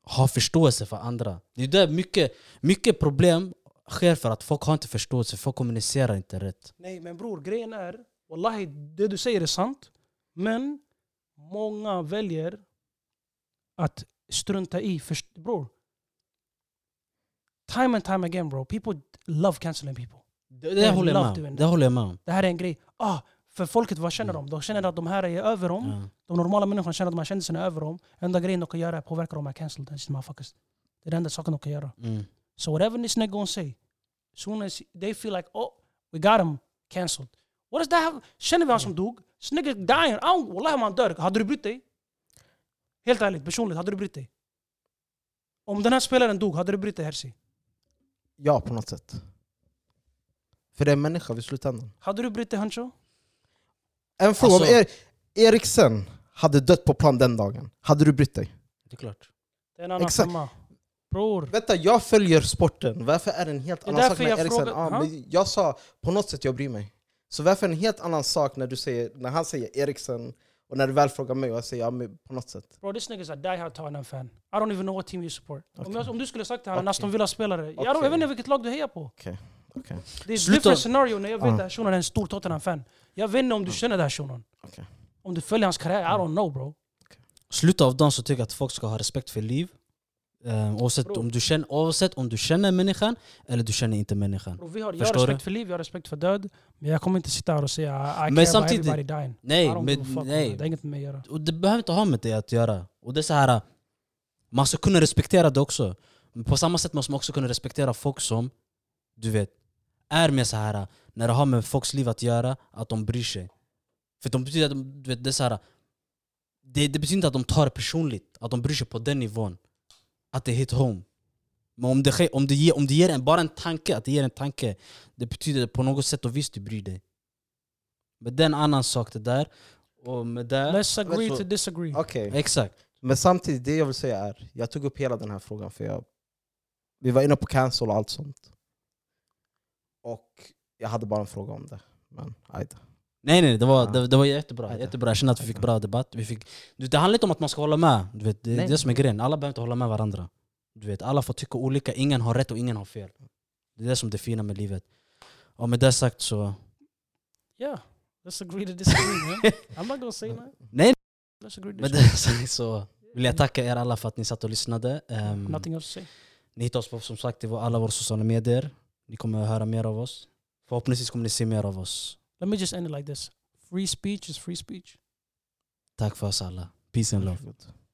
ha förståelse för andra. Det är där mycket, mycket problem sker för att folk har inte förståelse, folk kommunicerar inte rätt.
Nej men bror, grejen är, wallahi det du säger är sant. Men många väljer att strunta i, först- bror. Time and time again bro, people love cancelling people.
Det, det, håller, jag
love doing
med.
that.
om. det håller jag med om.
Det här är en grej. Ah, för folket, vad känner de? De känner att de här är över dem.
Ja.
De normala människorna känner att de här kändisarna är över dem. Enda grejen de kan göra är att påverka de här cancelled. Det är den enda saken de kan göra.
Mm.
So whatever this nigga gonna say, soon as they feel like, oh, we got him cancelled. What does that have? Känner vi han som dog? This nigga dying. I don't, wallahi om han dör, hade du brytt dig? Helt ärligt, personligt, hade du brytt dig? Om den här spelaren dog, hade du brytt dig Herzi?
Ja, på något sätt. För det är en människa vid slutändan.
Hade du brytt dig Hancho?
En fråga
Alltså-
om er, Eriksen hade dött på plan den dagen. Hade du brytt dig?
Det är klart.
Det är en annan
Exakt.
femma. Bror.
Vänta, jag följer sporten. Varför är det en helt
Det är
annan sak
därför
när
jag
Eriksen...
frågar-
ja,
Ja.
men jag sa på något sätt jag bryr mig. Så varför är det en helt annan sak när, du säger, när han säger Eriksen och när du väl frågar mig och jag säger ja, men på något sätt?
Bro, this nigga's a diehard Tottenham fan. I don't even know what team you support. Om,
Okej.
jag, om du skulle sagt till honom,
Okej.
en Aston Villa-spelare. Jag, don't- jag
Okej.
vet inte vilket lag du hejar på.
Okej, okej.
Det är ett
Sluta.
different scenario när jag vet
Ja.
att shunon är en stor Tottenham-fan. Jag vet inte om du känner den här shunon.
Okej.
Om du följer hans karriär, I don't know bro.
Slutet av dagen så tycker jag att folk ska ha respekt för liv. Um, oavsett,
Bro.
om du känner, oavsett om du känner människan eller du känner inte människan.
bro vi har, jag har
Förstår
respekt
du?
för liv, jag har respekt för död. Men jag kommer inte sitta här och säga I, I care
Men
about
samtidigt-
everybody dying. I
Nej,
don't
men,
give a fuck,
nej.
bro. Det är inget med mig att göra.
Och det behöver inte ha med det att göra. Och det är så här, man ska kunna respektera det också. Men på samma sätt måste man också kunna respektera folk som, du vet, är med så här när det har med folks liv att göra, att de bryr sig. För de betyder att de, du vet, det är så här, det, det betyder inte att de tar det personligt, att de bryr sig på den nivån. Att det hit home. Men om det, sker- om det, ger, om det ger en, bara en tanke, att det ger en tanke, det betyder på något sätt och visst du bryr dig. Men det är en annan sak det där. Och med det...
Let's agree
så-
to disagree.
Okej.
Exakt.
Men samtidigt, det jag vill säga är, jag tog upp hela den här frågan för jag, vi var inne på cancel och allt sånt. Och jag hade bara en fråga om det. Men ajde.
Nej nej, det var,
Ja.
det, det var jättebra.
Ja, det-
jättebra. Jag känner att vi fick bra debatt. Vi fick, du, det handlar inte om att man ska hålla med. Du vet, det är
Nej.
det som är grejen. Alla behöver inte hålla med varandra. Du vet, alla får tycka olika. Ingen har rätt och ingen har fel. Det är det som är det fina med livet. Och med det sagt så...
Yeah, let's agree to disagree man. I'm not gonna say that.
Nej,
Let's agree to
med
disagree.
det sagt så vill jag tacka er alla för att ni satt och lyssnade. Ehm,
Nothing else to say.
Ni hittar oss på som sagt i vår- alla våra sociala medier. Ni kommer att höra mer av oss. Förhoppningsvis kommer ni se mer av oss.
Let me just end it like this. Free speech is free speech.
Tack för oss alla. Peace and love.
Varsågod.